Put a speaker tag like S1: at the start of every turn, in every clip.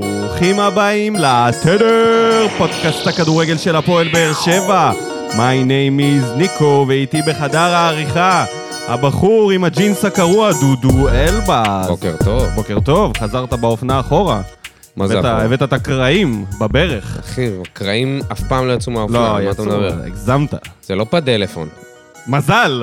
S1: ברוכים הבאים לתדר, פודקאסט הכדורגל של הפועל באר שבע. My name is ניקו, ואיתי בחדר העריכה, הבחור עם הג'ינס הקרוע, דודו אלבאז.
S2: בוקר טוב.
S1: בוקר טוב, חזרת באופנה אחורה.
S2: מה זה
S1: הבאת-
S2: אחורה?
S1: הבאת את הקרעים בברך.
S2: אחי, קרעים אף פעם לא יצאו מהאופנה, על מה אתה
S1: יצאו,
S2: מדבר?
S1: הגזמת.
S2: זה לא פדלפון.
S1: מזל!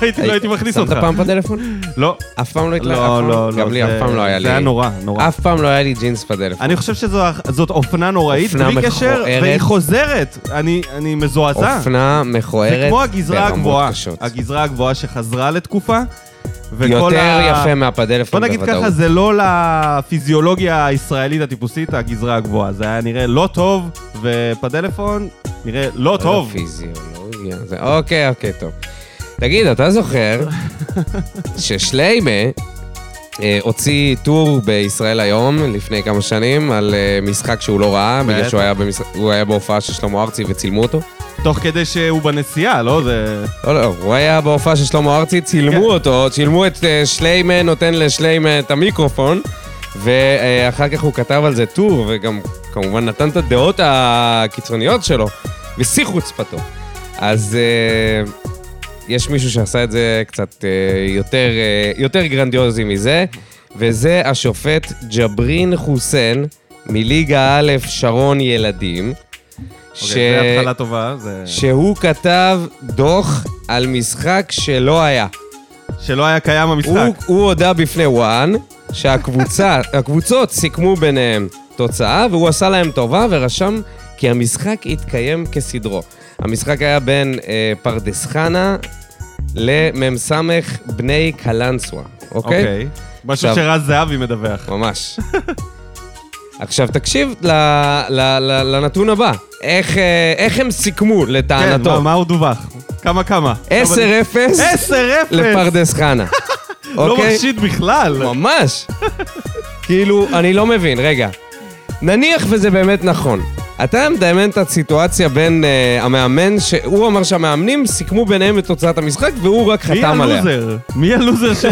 S1: הייתי- לא הייתי מכניס אותך.
S2: שמת פעם פדלפון?
S1: לא.
S2: אף פעם לא התלהב?
S1: לא, לא, לא.
S2: גם לי
S1: זה-
S2: אף פעם לא היה לי.
S1: זה היה נורא, נורא.
S2: אף פעם לא היה לי ג'ינס פדלפון.
S1: אני חושב שזאת אופנה נוראית,
S2: אופנה
S1: בלי קשר,
S2: מכוערת.
S1: והיא חוזרת. אני אני מזועזע.
S2: אופנה מכוערת
S1: זה כמו הגזרה
S2: ברמות
S1: הגבוהה.
S2: קשות.
S1: הגזרה הגבוהה שחזרה לתקופה. וכל
S2: יותר
S1: ה-
S2: יפה מהפדלפון
S1: בוא נגיד
S2: בוודאות.
S1: ככה, זה לא לפיזיולוגיה הישראלית הטיפוסית, הגזרה הגבוהה. זה היה נראה לא טוב, ובטלפון נראה לא טוב.
S2: פיזיולוגיה. זה- אוקיי, אוקיי, טוב. תגיד, אתה זוכר ששליימה אה, הוציא טור בישראל היום, לפני כמה שנים, על אה, משחק שהוא לא ראה, בגלל
S1: בטח.
S2: שהוא היה במשחק- הוא היה בהופעה של שלמה ארצי וצילמו אותו?
S1: תוך כדי שהוא בנסיעה, לא? זה...
S2: לא, לא, הוא היה בהופעה של שלמה ארצי,
S1: כן.
S2: צילמו אותו, צילמו את אה, שליימה, נותן לשליימה את המיקרופון, ואחר כך הוא כתב על זה טור, וגם כמובן נתן את הדעות הקיצוניות שלו, בשיא חוצפתו. אז אה, יש מישהו שעשה את זה קצת אה, יותר, אה, יותר גרנדיוזי מזה, וזה השופט ג'ברין חוסיין מליגה א' שרון ילדים.
S1: אוקיי, זה התחלה טובה, זה...
S2: שהוא כתב דוח על משחק שלא היה.
S1: שלא היה קיים המשחק.
S2: הוא, הוא הודה בפני וואן שהקבוצות סיכמו ביניהם תוצאה, והוא עשה להם טובה ורשם כי המשחק התקיים כסדרו. המשחק היה בין אה, פרדס חנה למ"ס בני קלנסווה, אוקיי? אוקיי.
S1: אוקיי. משהו
S2: עכשיו-
S1: שרז זהבי מדווח.
S2: ממש. עכשיו תקשיב ל, ל, ל, לנתון הבא, איך, אה, איך הם סיכמו
S1: כן,
S2: לטענתו?
S1: מה- מה הוא דווח? כמה כמה?
S2: 10-0
S1: 10-0!
S2: לפרדס חנה.
S1: לא
S2: אוקיי?
S1: מחשיד בכלל.
S2: ממש. כאילו, אני לא מבין, רגע. נניח וזה באמת נכון. אתה מדמיין את הסיטואציה בין uh, המאמן, שהוא אמר שהמאמנים סיכמו ביניהם את תוצאת המשחק והוא רק
S1: מי
S2: חתם עליה.
S1: הלוזר? מי הלוזר ש-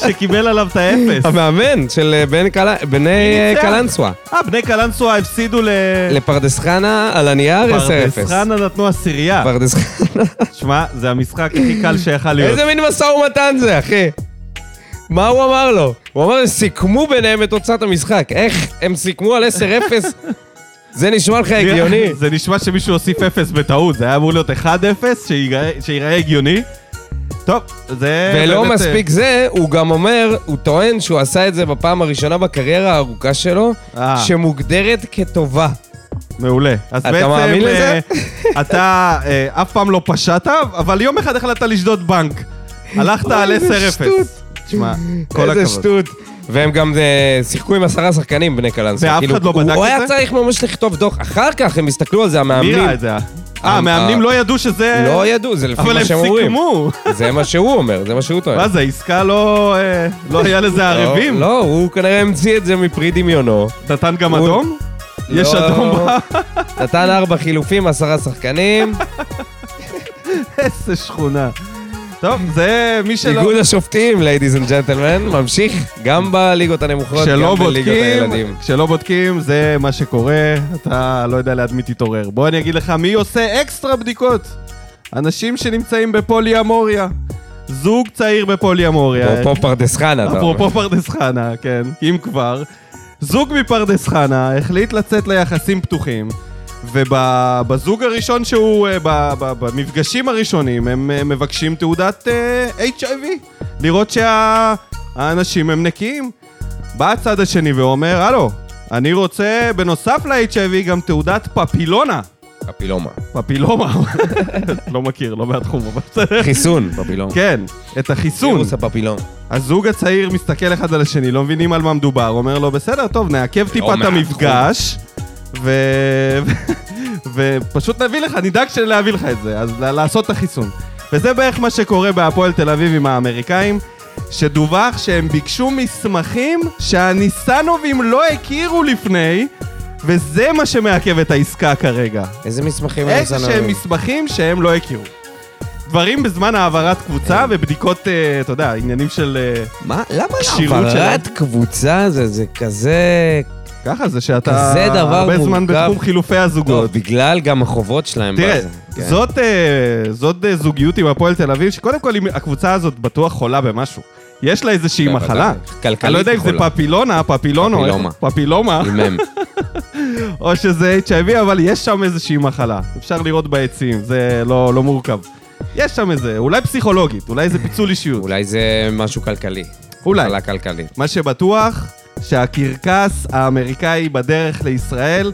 S1: שקיבל עליו את האפס?
S2: המאמן של אה, בן קל... בני אה,
S1: ניצח?
S2: קלנסווה.
S1: אה, בני קלנסווה הפסידו ל...
S2: לפרדס חנה על הנייר 10-0.
S1: פרדס חנה נתנו עשירייה.
S2: פרדס חנה.
S1: שמע, זה המשחק הכי קל שיכל להיות.
S2: איזה מין משא ומתן זה, אחי? מה הוא אמר לו? הוא אמר, סיכמו ביניהם את תוצאת המשחק. איך הם סיכמו על 10-0? זה נשמע לך הגיוני?
S1: זה נשמע שמישהו הוסיף אפס בטעות, זה היה אמור להיות 1-0, שייראה- שייראה הגיוני. טוב, זה...
S2: ולא
S1: באמת, אה,
S2: מספיק זה, הוא גם אומר, הוא טוען שהוא עשה את זה בפעם הראשונה בקריירה הארוכה שלו,
S1: אה.
S2: שמוגדרת כטובה.
S1: אה, מעולה. אז
S2: אתה
S1: בעצם,
S2: מאמין
S1: אה,
S2: לזה?
S1: אתה אה, אף פעם לא פשעת, אבל יום אחד החלטת לשדוד בנק. הלכת על
S2: אוי, איזה
S1: 10-0.
S2: שטות.
S1: תשמע, כל הכבוד.
S2: איזה שטות. והם גם אה, שיחקו עם עשרה שחקנים בני קלנסווה.
S1: ואף
S2: כאילו,
S1: אחד לא
S2: הוא-
S1: בדק
S2: הוא
S1: את
S2: היה
S1: זה?
S2: צריך ממש לכתוב דוח. אחר כך הם הסתכלו על זה,
S1: מי
S2: המאמנים.
S1: ראה את זה? אה, המאמנים לא ידעו שזה...
S2: לא ידעו, זה לפי
S1: אבל
S2: מה
S1: הם
S2: שהם אומרים.
S1: סיכמו.
S2: זה מה שהוא אומר, זה מה שהוא טוען.
S1: מה זה, העסקה לא... אה, לא היה לזה ערבים?
S2: לא, לא, הוא כנראה המציא את זה מפרי דמיונו.
S1: נתן גם
S2: הוא-
S1: אדום? יש
S2: לא.
S1: אדום ב...
S2: נתן ארבע חילופים, עשרה שחקנים.
S1: איזה שכונה. טוב, זה מי שלא...
S2: איגוד השופטים, ladies and gentlemen, ממשיך גם בליגות הנמוכות,
S1: כשלא
S2: גם בליגות
S1: בודקים,
S2: הילדים.
S1: כשלא בודקים, זה מה שקורה, אתה לא יודע ליד מי תתעורר. בוא אני אגיד לך מי עושה אקסטרה בדיקות. אנשים שנמצאים בפולי אמוריה. זוג צעיר בפולי אמוריה.
S2: אפרופו פרדס חנה, אתה אומר.
S1: אה, אפרופו פרדס חנה, כן, אם כבר, זוג מפרדס חנה החליט לצאת ליחסים פתוחים, ובזוג הראשון שהוא, אה, ב- ב- במפגשים הראשונים, הם אה, מבקשים תעודת אה, HIV, לראות שהאנשים הם נקיים. בא הצד השני ואומר, הלו, אני רוצה בנוסף ל-HIV גם תעודת פפילונה.
S2: פפילומה.
S1: פפילומה, לא מכיר, לא מהתחום, אבל בסדר.
S2: חיסון, פפילומה.
S1: כן, את החיסון.
S2: וירוס הפפילומה.
S1: הזוג הצעיר מסתכל אחד על השני, לא מבינים על מה מדובר, אומר לו, בסדר, טוב, נעכב טיפה את
S2: מהתחום."
S1: המפגש, ו... ופשוט נביא לך, נדאג להביא לך את זה, אז ל- לעשות את החיסון. וזה בערך מה שקורה בהפועל תל אביב עם האמריקאים, שדווח שהם ביקשו מסמכים שהניסנובים לא הכירו לפני, וזה מה שמעכב את העסקה כרגע.
S2: איזה מסמכים הם
S1: איזה שהם
S2: זנבים?
S1: מסמכים שהם לא הכירו. דברים בזמן העברת קבוצה ובדיקות, אה, אתה יודע, עניינים של... אה,
S2: מה? למה
S1: כשירות
S2: העברת קבוצה זה זה כזה...
S1: ככה זה שאתה
S2: כזה דבר
S1: הרבה זמן
S2: מורכב.
S1: בתחום חילופי
S2: טוב,
S1: הזוגות.
S2: בגלל גם החובות שלהם.
S1: לא. תראה,
S2: בזה. כן.
S1: זאת, אה, זאת אה, זוגיות עם הפועל תל אביב, שקודם כל היא- הקבוצה הזאת בטוח חולה במשהו. יש לה איזושהי
S2: כן, בוודאי.
S1: מחלה.
S2: כלכלית
S1: אני לא יודע אם זה
S2: היא חולה.
S1: פפילונה, פפילונו,
S2: פפילומה.
S1: איך- פפילומה,
S2: עם מם.
S1: או שזה HIV, אבל יש שם איזושהי מחלה. אפשר לראות בעצים, זה לא לא מורכב. יש שם איזה, אולי פסיכולוגית, אולי איזה פיצול אישיות.
S2: אולי זה משהו כלכלי.
S1: אולי.
S2: מחלה כלכלית.
S1: מה שבטוח, שהקרקס האמריקאי בדרך לישראל,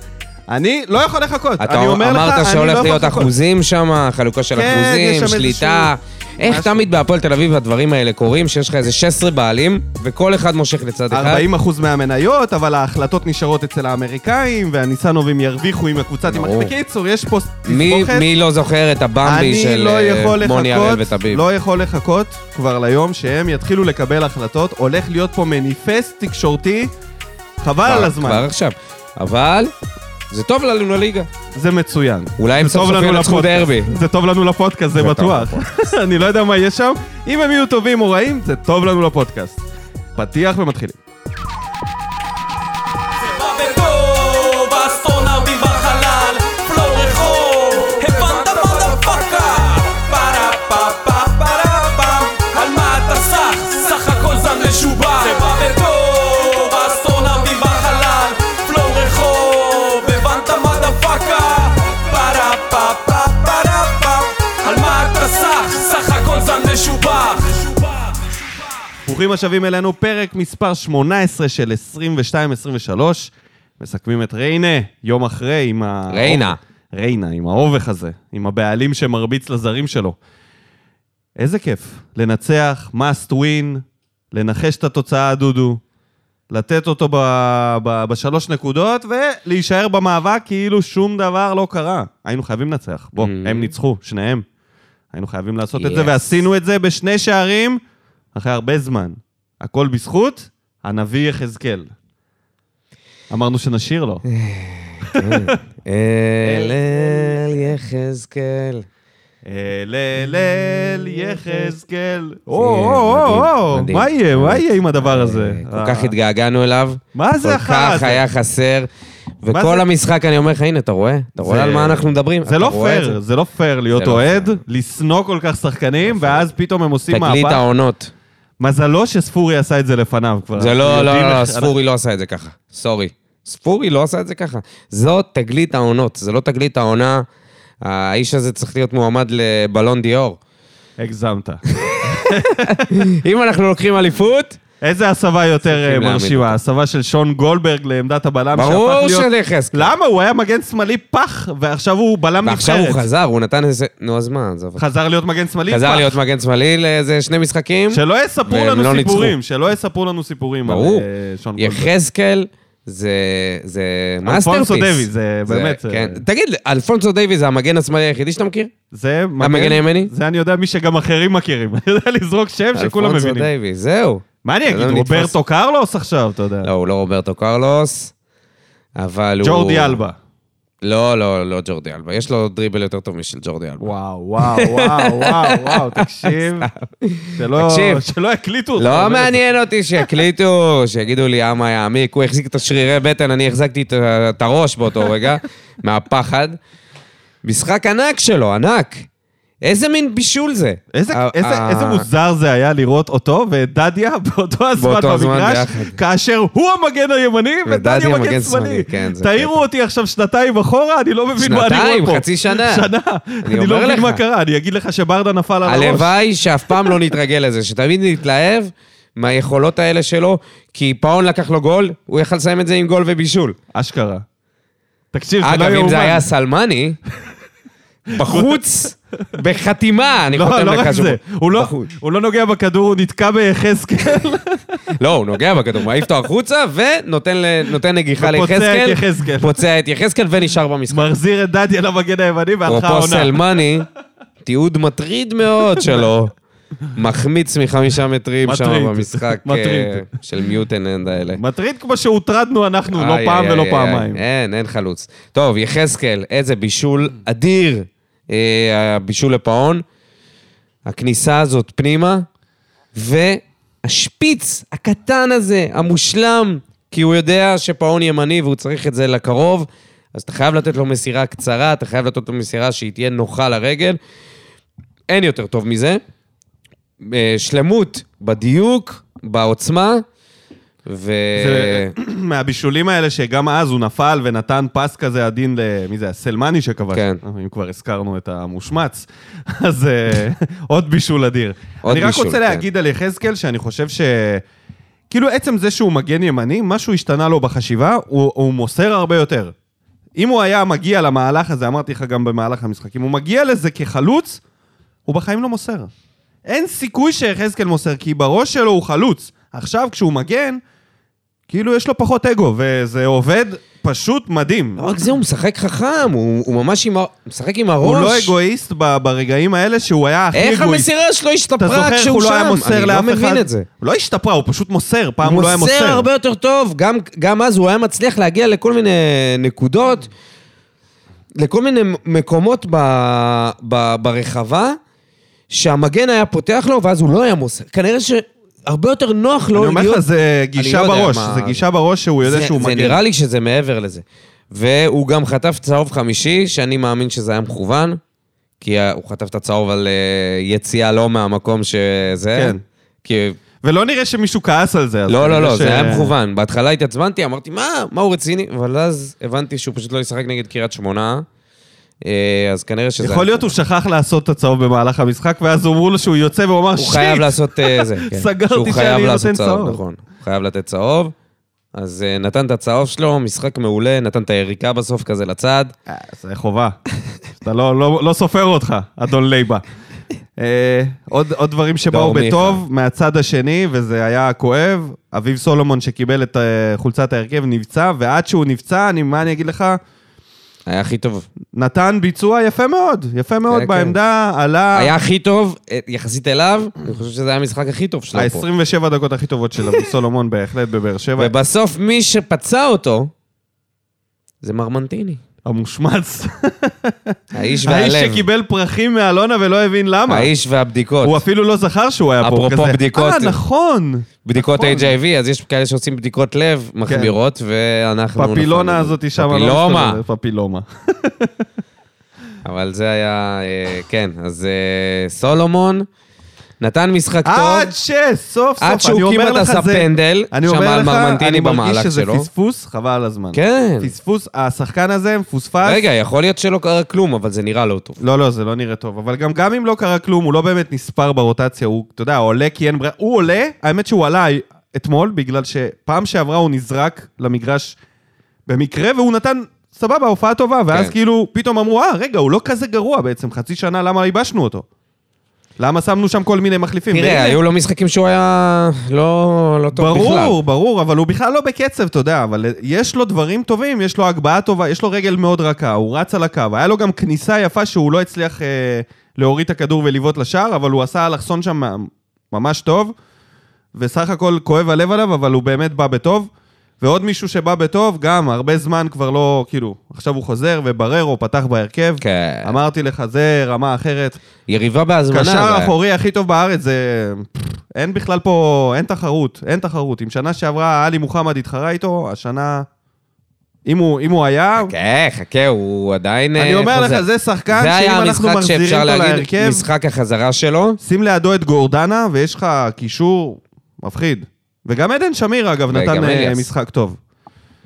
S1: אני לא יכול לחכות.
S2: אתה
S1: אני אומר לך,
S2: אמרת
S1: אני לא
S2: שהולך
S1: יכול
S2: להיות
S1: לחכות.
S2: אחוזים שם, חלוקה של
S1: כן, יש
S2: אחוזים,
S1: שם
S2: שליטה. איך
S1: משהו.
S2: תמיד בהפועל תל אביב הדברים האלה קורים, שיש לך איזה 16 בעלים, וכל אחד מושך לצד אחד?
S1: 40% מהמניות, אבל ההחלטות נשארות אצל האמריקאים, והניסנובים ירוויחו אם הקבוצה תימח...
S2: ברור.
S1: בקיצור, יש פה
S2: מי,
S1: תסבוכת.
S2: מי לא זוכר את הבמבי
S1: אני
S2: של
S1: לא
S2: אה,
S1: יכול
S2: מוני הראל
S1: לחכות,
S2: וטביב?
S1: לא יכול לחכות כבר ליום שהם יתחילו לקבל החלטות. הולך להיות פה מניפסט תקשורתי, חבל
S2: כבר-
S1: על הזמן.
S2: כבר עכשיו. אבל זה טוב לנו לליגה.
S1: זה מצוין.
S2: אולי הם
S1: זה
S2: סוף
S1: טוב
S2: סוף
S1: לנו
S2: ינצחו
S1: לפודקאסט.
S2: דרבי.
S1: זה טוב לנו לפודקאסט, זה
S2: זה טוב
S1: בטוח. אני לא יודע מה יהיה שם. אם הם יהיו טובים או רעים, זה טוב לנו לפודקאסט. פתיח ומתחילים.
S3: בביתו, באסטרונאוטים בחלל, פלואו רחוב, הבנת מודפאקה? פרה פה פה פרה פם, על מה אתה סח? סך הכל זן משובח. זה בביתו, באסטרונאוטים בחלל, פלואו רחוב, הבנת מודפאקה? פרה פה פה פרה פם, על מה אתה סח? סך הכל זן משובח.
S1: ברוכים השבים אלינו, פרק מספר 18 של 22-23. מסכמים את ריינה, יום אחרי עם ה...
S2: ריינה.
S1: ריינה, עם האובך הזה, עם הבעלים שמרביץ לזרים שלו. איזה כיף. לנצח, must win, לנחש את התוצאה, דודו, לתת אותו ב... ב... בשלוש נקודות, ולהישאר במאבק כאילו שום דבר לא קרה. היינו חייבים לנצח. בוא,
S2: Mhm.
S1: הם ניצחו, שניהם. היינו חייבים לעשות את
S2: Yes.
S1: זה, ועשינו את זה בשני שערים אחרי הרבה זמן. הכל בזכות הנביא יחזקאל. אמרנו שנשאיר לו.
S2: אה. אל אל יחזקאל.
S1: אל אל אל יחזקאל. או,
S2: מדהים,
S1: או, או, או,
S2: Mm. כן, מדהים.
S1: מה יהיה, מה יהיה עם הדבר הזה?
S2: אה, כל כך התגעגענו אליו.
S1: מה זה
S2: כל
S1: החרא
S2: כך
S1: הזה?
S2: היה חסר.
S1: מה
S2: וכל
S1: זה?
S2: המשחק, אני אומר לך, הנה, אתה רואה? אתה רואה
S1: זה-
S2: על מה אנחנו מדברים?
S1: זה
S2: אתה
S1: לא
S2: רואה את
S1: פייר,
S2: זה?
S1: זה לא פייר להיות
S2: לא
S1: אוהד,
S2: פייר.
S1: לשנוא כל כך שחקנים, ואז פתאום הם עושים
S2: תגלית
S1: מהפך.
S2: העונות.
S1: מזלו שספורי עשה את זה לפניו כבר.
S2: זה
S1: אנחנו
S2: לא,
S1: יודעים
S2: לא, לא,
S1: איך-
S2: ספורי לא עשה את זה ככה. סורי. ספורי לא עשה את זה ככה. זאת תגלית העונות, זה לא תגלית העונה. האיש הזה צריך להיות מועמד לבלון דיאור.
S1: הגזמת.
S2: אם אנחנו לוקחים אליפות,
S1: איזה הסבה יותר אה,
S2: להעמיד
S1: מרשימה? הסבה של שון גולדברג לעמדת הבלם שהפך להיות... לא
S2: ברור של יחזקאל.
S1: למה? הוא היה מגן שמאלי פח, ועכשיו הוא בלם נבחרת.
S2: ועכשיו הוא חזר, הוא נתן איזה... נו, אז מה, עזוב. אותי.
S1: חזר להיות מגן שמאלי פח.
S2: חזר להיות מגן שמאלי לאיזה שני משחקים.
S1: שלא יספרו
S2: והם
S1: לנו
S2: לא ניצחו.
S1: סיפורים, שלא יספרו לנו סיפורים על
S2: ברור.
S1: אה, שון גולדברג.
S2: יחזקאל זה זה מאסטרפיס.
S1: אלפונסו דיוויס, זה באמת, אה,
S2: כן. תגיד, אלפונסו דיוויס זה המגן השמאלי היחידי שאתה מכיר?
S1: זה
S2: המגן הימני?
S1: זה אני יודע מי שגם אחרים מכירים. אני יודע לזרוק שם שכולם
S2: אלפונסו
S1: מבינים.
S2: דיוויס, זהו.
S1: מה אני
S2: זה לא
S1: אגיד,
S2: נתפס.
S1: רוברטו קרלוס עכשיו, אתה יודע.
S2: לא, הוא לא רוברטו קרלוס, אבל הוא...
S1: ג'ורדי אלבה.
S2: לא, לא, לא ג'ורדי אלבה. יש לו דריבל יותר טוב משל ג'ורדי אלבה.
S1: וואו, וואו, וואו, וואו, וואו, תקשיב. שלא-
S2: תקשיב.
S1: שלא יקליטו אותך.
S2: לא
S1: אומר.
S2: מעניין אותי שיקליטו, שיגידו לי עמה יעמיק. הוא החזיק את השרירי בטן, אני החזקתי את ה- את הראש באותו רגע, מהפחד. משחק ענק שלו, ענק. איזה מין בישול זה?
S1: איזה-
S2: ה-
S1: איזה-
S2: ה-
S1: איזה מוזר זה היה לראות אותו ואת דדיה באותו הזמן
S2: באותו הזמן
S1: במגרש,
S2: ביחד.
S1: כאשר הוא המגן הימני ודדיה מגן שמאלי.
S2: כן, זה
S1: תעירו
S2: קטע.
S1: אותי עכשיו שנתיים אחורה, אני לא מבין מה אני רואה פה.
S2: שנתיים, חצי שנה.
S1: שנה. אני לא
S2: אומר
S1: מבין
S2: לך.
S1: מה קרה, אני אגיד לך שברדה נפל על הראש.
S2: הלוואי שאף פעם לא נתרגל לזה, שתמיד נתלהב מהיכולות האלה שלו, כי פאון לקח לו גול, הוא יכל לסיים את זה עם גול ובישול.
S1: אשכרה. תקשיב, זה לא
S2: אגב,
S1: יאומן.
S2: אם זה היה סלמני, בחוץ, בחתימה, אני
S1: לא,
S2: חותם
S1: לא
S2: לך
S1: רק
S2: שהוא...
S1: זה. הוא לא-
S2: בחוץ.
S1: הוא לא נוגע בכדור, הוא נתקע ביחזקאל.
S2: לא, הוא נוגע בכדור, מעיף אותו החוצה ונותן ל- נותן נגיחה
S1: ופוצע את
S2: ליחזקאל.
S1: יחזקאל.
S2: פוצע את יחזקאל ונשאר במשחק.
S1: מחזיר את דדיה למגן הימני והלכה
S2: אפרופו
S1: העונה.
S2: סלמני, תיעוד מטריד מאוד שלו. מחמיץ מחמישה מטרים
S1: מטריד.
S2: שם במשחק אה,
S1: מטריד.
S2: של מיוטננד האלה.
S1: מטריד כמו שהוטרדנו אנחנו, לא
S2: איי,
S1: פעם
S2: איי,
S1: ולא
S2: איי,
S1: פעמיים.
S2: איי, אין, אין חלוץ. טוב, יחזקאל, איזה בישול אדיר, אה, הבישול לפעון. הכניסה הזאת פנימה, והשפיץ הקטן הזה, המושלם, כי הוא יודע שפאון ימני והוא צריך את זה לקרוב, אז אתה חייב לתת לו מסירה קצרה, אתה חייב לתת לו מסירה שהיא תהיה נוחה לרגל. אין יותר טוב מזה. אה, שלמות בדיוק, בעוצמה, ו...
S1: זה- מהבישולים האלה שגם אז הוא נפל ונתן פס כזה עדין ל... מי זה? הסלמני שכבש. אה,
S2: כן.
S1: אם כבר הזכרנו את המושמץ, אז אה, עוד בישול אדיר.
S2: עוד
S1: אני רק
S2: בישול,
S1: רוצה
S2: כן.
S1: להגיד על יחזקאל שאני חושב ש... כאילו עצם זה שהוא מגן ימני, משהו השתנה לו בחשיבה, הוא, הוא מוסר הרבה יותר. אם הוא היה מגיע למהלך הזה, אמרתי לך גם במהלך המשחק, אם הוא מגיע לזה כחלוץ, הוא בחיים לא מוסר. אין סיכוי שיחזקאל מוסר, כי בראש שלו הוא חלוץ. עכשיו, כשהוא מגן, כאילו יש לו פחות אגו, וזה עובד פשוט מדהים.
S2: לא רק זה, הוא משחק חכם, הוא, הוא ממש עם, ה- משחק עם הראש.
S1: הוא לא אגואיסט ב- ברגעים האלה שהוא היה הכי
S2: איך
S1: אגואיסט.
S2: המסירה שלו
S1: אתה
S2: השתפרה
S1: זוכר איך
S2: כשהוא
S1: הוא
S2: שם?
S1: לא היה מוסר לאף אחד?
S2: אני לא מבין את זה.
S1: הוא לא השתפרה, הוא פשוט מוסר, פעם
S2: הוא
S1: הוא לא היה מוסר.
S2: מוסר הרבה יותר טוב, גם, גם אז הוא היה מצליח להגיע לכל מיני נקודות, לכל מיני מקומות ב, ב, ברחבה, שהמגן היה פותח לו, ואז הוא לא היה מוסר. כנראה שהרבה יותר נוח לו
S1: אני אומר לך, זה גישה
S2: לא יודע
S1: בראש,
S2: מה-
S1: זה גישה בראש שהוא יודע
S2: זה-
S1: שהוא
S2: זה
S1: מגן.
S2: נראה לי שזה מעבר לזה. והוא גם חטף צהוב חמישי, שאני מאמין שזה היה מכוון, כי ה- הוא חטף את הצהוב על אה, יציאה לא מהמקום שזה.
S1: כן.
S2: כי...
S1: ולא נראה שמישהו כעס על זה. אז
S2: לא,
S1: אני
S2: לא,
S1: יודע
S2: לא,
S1: ש-
S2: זה היה מכוון. בהתחלה התעצבנתי, אמרתי, מה, מה הוא רציני? אבל אז הבנתי שהוא פשוט לא ישחק נגד קריית שמונה, אה, אז כנראה שזה...
S1: יכול להיות הוא שכח לעשות את הצהוב במהלך המשחק, ואז אמרו לו שהוא יוצא והוא אמר,
S2: הוא חייב
S1: שיט,
S2: לעשות אה, זה. כן.
S1: סגרתי
S2: שהוא
S1: שאני
S2: חייב
S1: נותן
S2: לעשות
S1: צהוב.
S2: נכון. הוא חייב לתת צהוב. אז אה, נתן את הצהוב שלו, משחק מעולה, נתן את היריקה בסוף כזה לצד.
S1: אה, זה חובה. אתה לא, לא, לא סופר אותך, אדון לייבה. אה, עוד, עוד דברים שבאו
S2: דור מיכה.
S1: בטוב, מהצד השני, וזה היה כואב, אביב סולומון שקיבל את אה, חולצת ההרכב נפצע, ועד שהוא נפצע, אני, מה אני אגיד לך?
S2: היה הכי טוב.
S1: נתן ביצוע יפה מאוד, יפה מאוד
S2: כן.
S1: בעמדה, עלה...
S2: היה הכי טוב, אה, יחסית אליו, אני חושב שזה היה המשחק הכי טוב שלו לא פה.
S1: ה-27 דקות הכי טובות של אביב סולומון בהחלט בבאר שבע.
S2: ובסוף מי שפצע אותו, זה מרמנטיני.
S1: המושמץ. האיש
S2: האיש והלב.
S1: שקיבל פרחים מאלונה ולא הבין למה.
S2: האיש
S1: הוא
S2: והבדיקות.
S1: אפילו לא זכר שהוא היה פה.
S2: אפרופו
S1: כזה,
S2: בדיקות.
S1: אה, נכון.
S2: בדיקות
S1: נכון.
S2: HIV, אז יש כאלה שעושים בדיקות לב מחמירות, ואנחנו... נפלנו.
S1: פפילונה הזאת שם. לא
S2: פפילומה.
S1: מסתובבת, פפילומה.
S2: אבל זה היה, אה, כן, אז אה, סולומון נתן משחק
S1: עד
S2: טוב,
S1: שסוף
S2: עד
S1: אה, סוף, אני
S2: שהוא
S1: אומר
S2: כמעט
S1: לך,
S2: עשה
S1: זה...
S2: פנדל,
S1: אני
S2: שם
S1: אומר
S2: על
S1: לך, אני
S2: מרמנטיני
S1: מרגיש
S2: במהלך
S1: שזה
S2: שלו.
S1: פספוס, חבל על הזמן.
S2: כן.
S1: פספוס, השחקן הזה מפוספס.
S2: רגע, יכול להיות שלא קרה כלום, אבל זה נראה לא טוב.
S1: לא, לא, זה לא נראה טוב. אבל גם, גם אם לא קרה כלום, הוא לא באמת נספר ברוטציה. הוא, אתה יודע, עולה כי אין ברירה. הוא עולה, האמת שהוא עלה אתמול, בגלל שפעם שעברה הוא נזרק למגרש במקרה, והוא נתן, סבבה, הופעה טובה. ואז
S2: כן.
S1: כאילו, פתאום אמרו, אה, רגע, הוא לא כזה גרוע בעצם. חצי שנה, למה ייבשנו אותו? למה שמנו שם כל מיני מחליפים? והנה,
S2: תראה, היו לו משחקים שהוא היה לא לא טוב בכלל.
S1: ברור, ברור, אבל הוא בכלל לא בקצב, אתה יודע, אבל יש לו דברים טובים, יש לו הגבהה טובה, יש לו רגל מאוד רכה, הוא רץ על הקו, היה לו גם כניסה יפה שהוא לא הצליח אה, להוריד את הכדור ולבעוט לשער, אבל הוא עשה אלכסון שם ממש טוב, וסך הכל כואב הלב עליו, אבל הוא באמת בא בטוב. ועוד מישהו שבא בטוב, גם הרבה זמן כבר לא, כאילו, עכשיו הוא חוזר ובררו, פתח בהרכב.
S2: כן.
S1: אמרתי לך, זה רמה אחרת.
S2: יריבה בהזמנה. זה
S1: קשר
S2: היה.
S1: אחורי הכי טוב בארץ, זה... אין בכלל פה, אין תחרות, אין תחרות. אם שנה שעברה עלי מוחמד התחרה איתו, השנה... אם הוא, אם הוא היה...
S2: כן, חכה, הוא עדיין...
S1: אני
S2: אה,
S1: אומר
S2: חוזר.
S1: לך, זה שחקן
S2: זה
S1: שאם
S2: היה
S1: אנחנו
S2: המשחק
S1: מחזירים
S2: שאפשר
S1: אותו
S2: להגיד,
S1: להרכב,
S2: משחק החזרה שלו.
S1: שים לידו את גורדנה, ויש לך קישור מפחיד. וגם עדן שמיר, אגב,
S2: וגם
S1: נתן אה,
S2: אליאס.
S1: משחק טוב.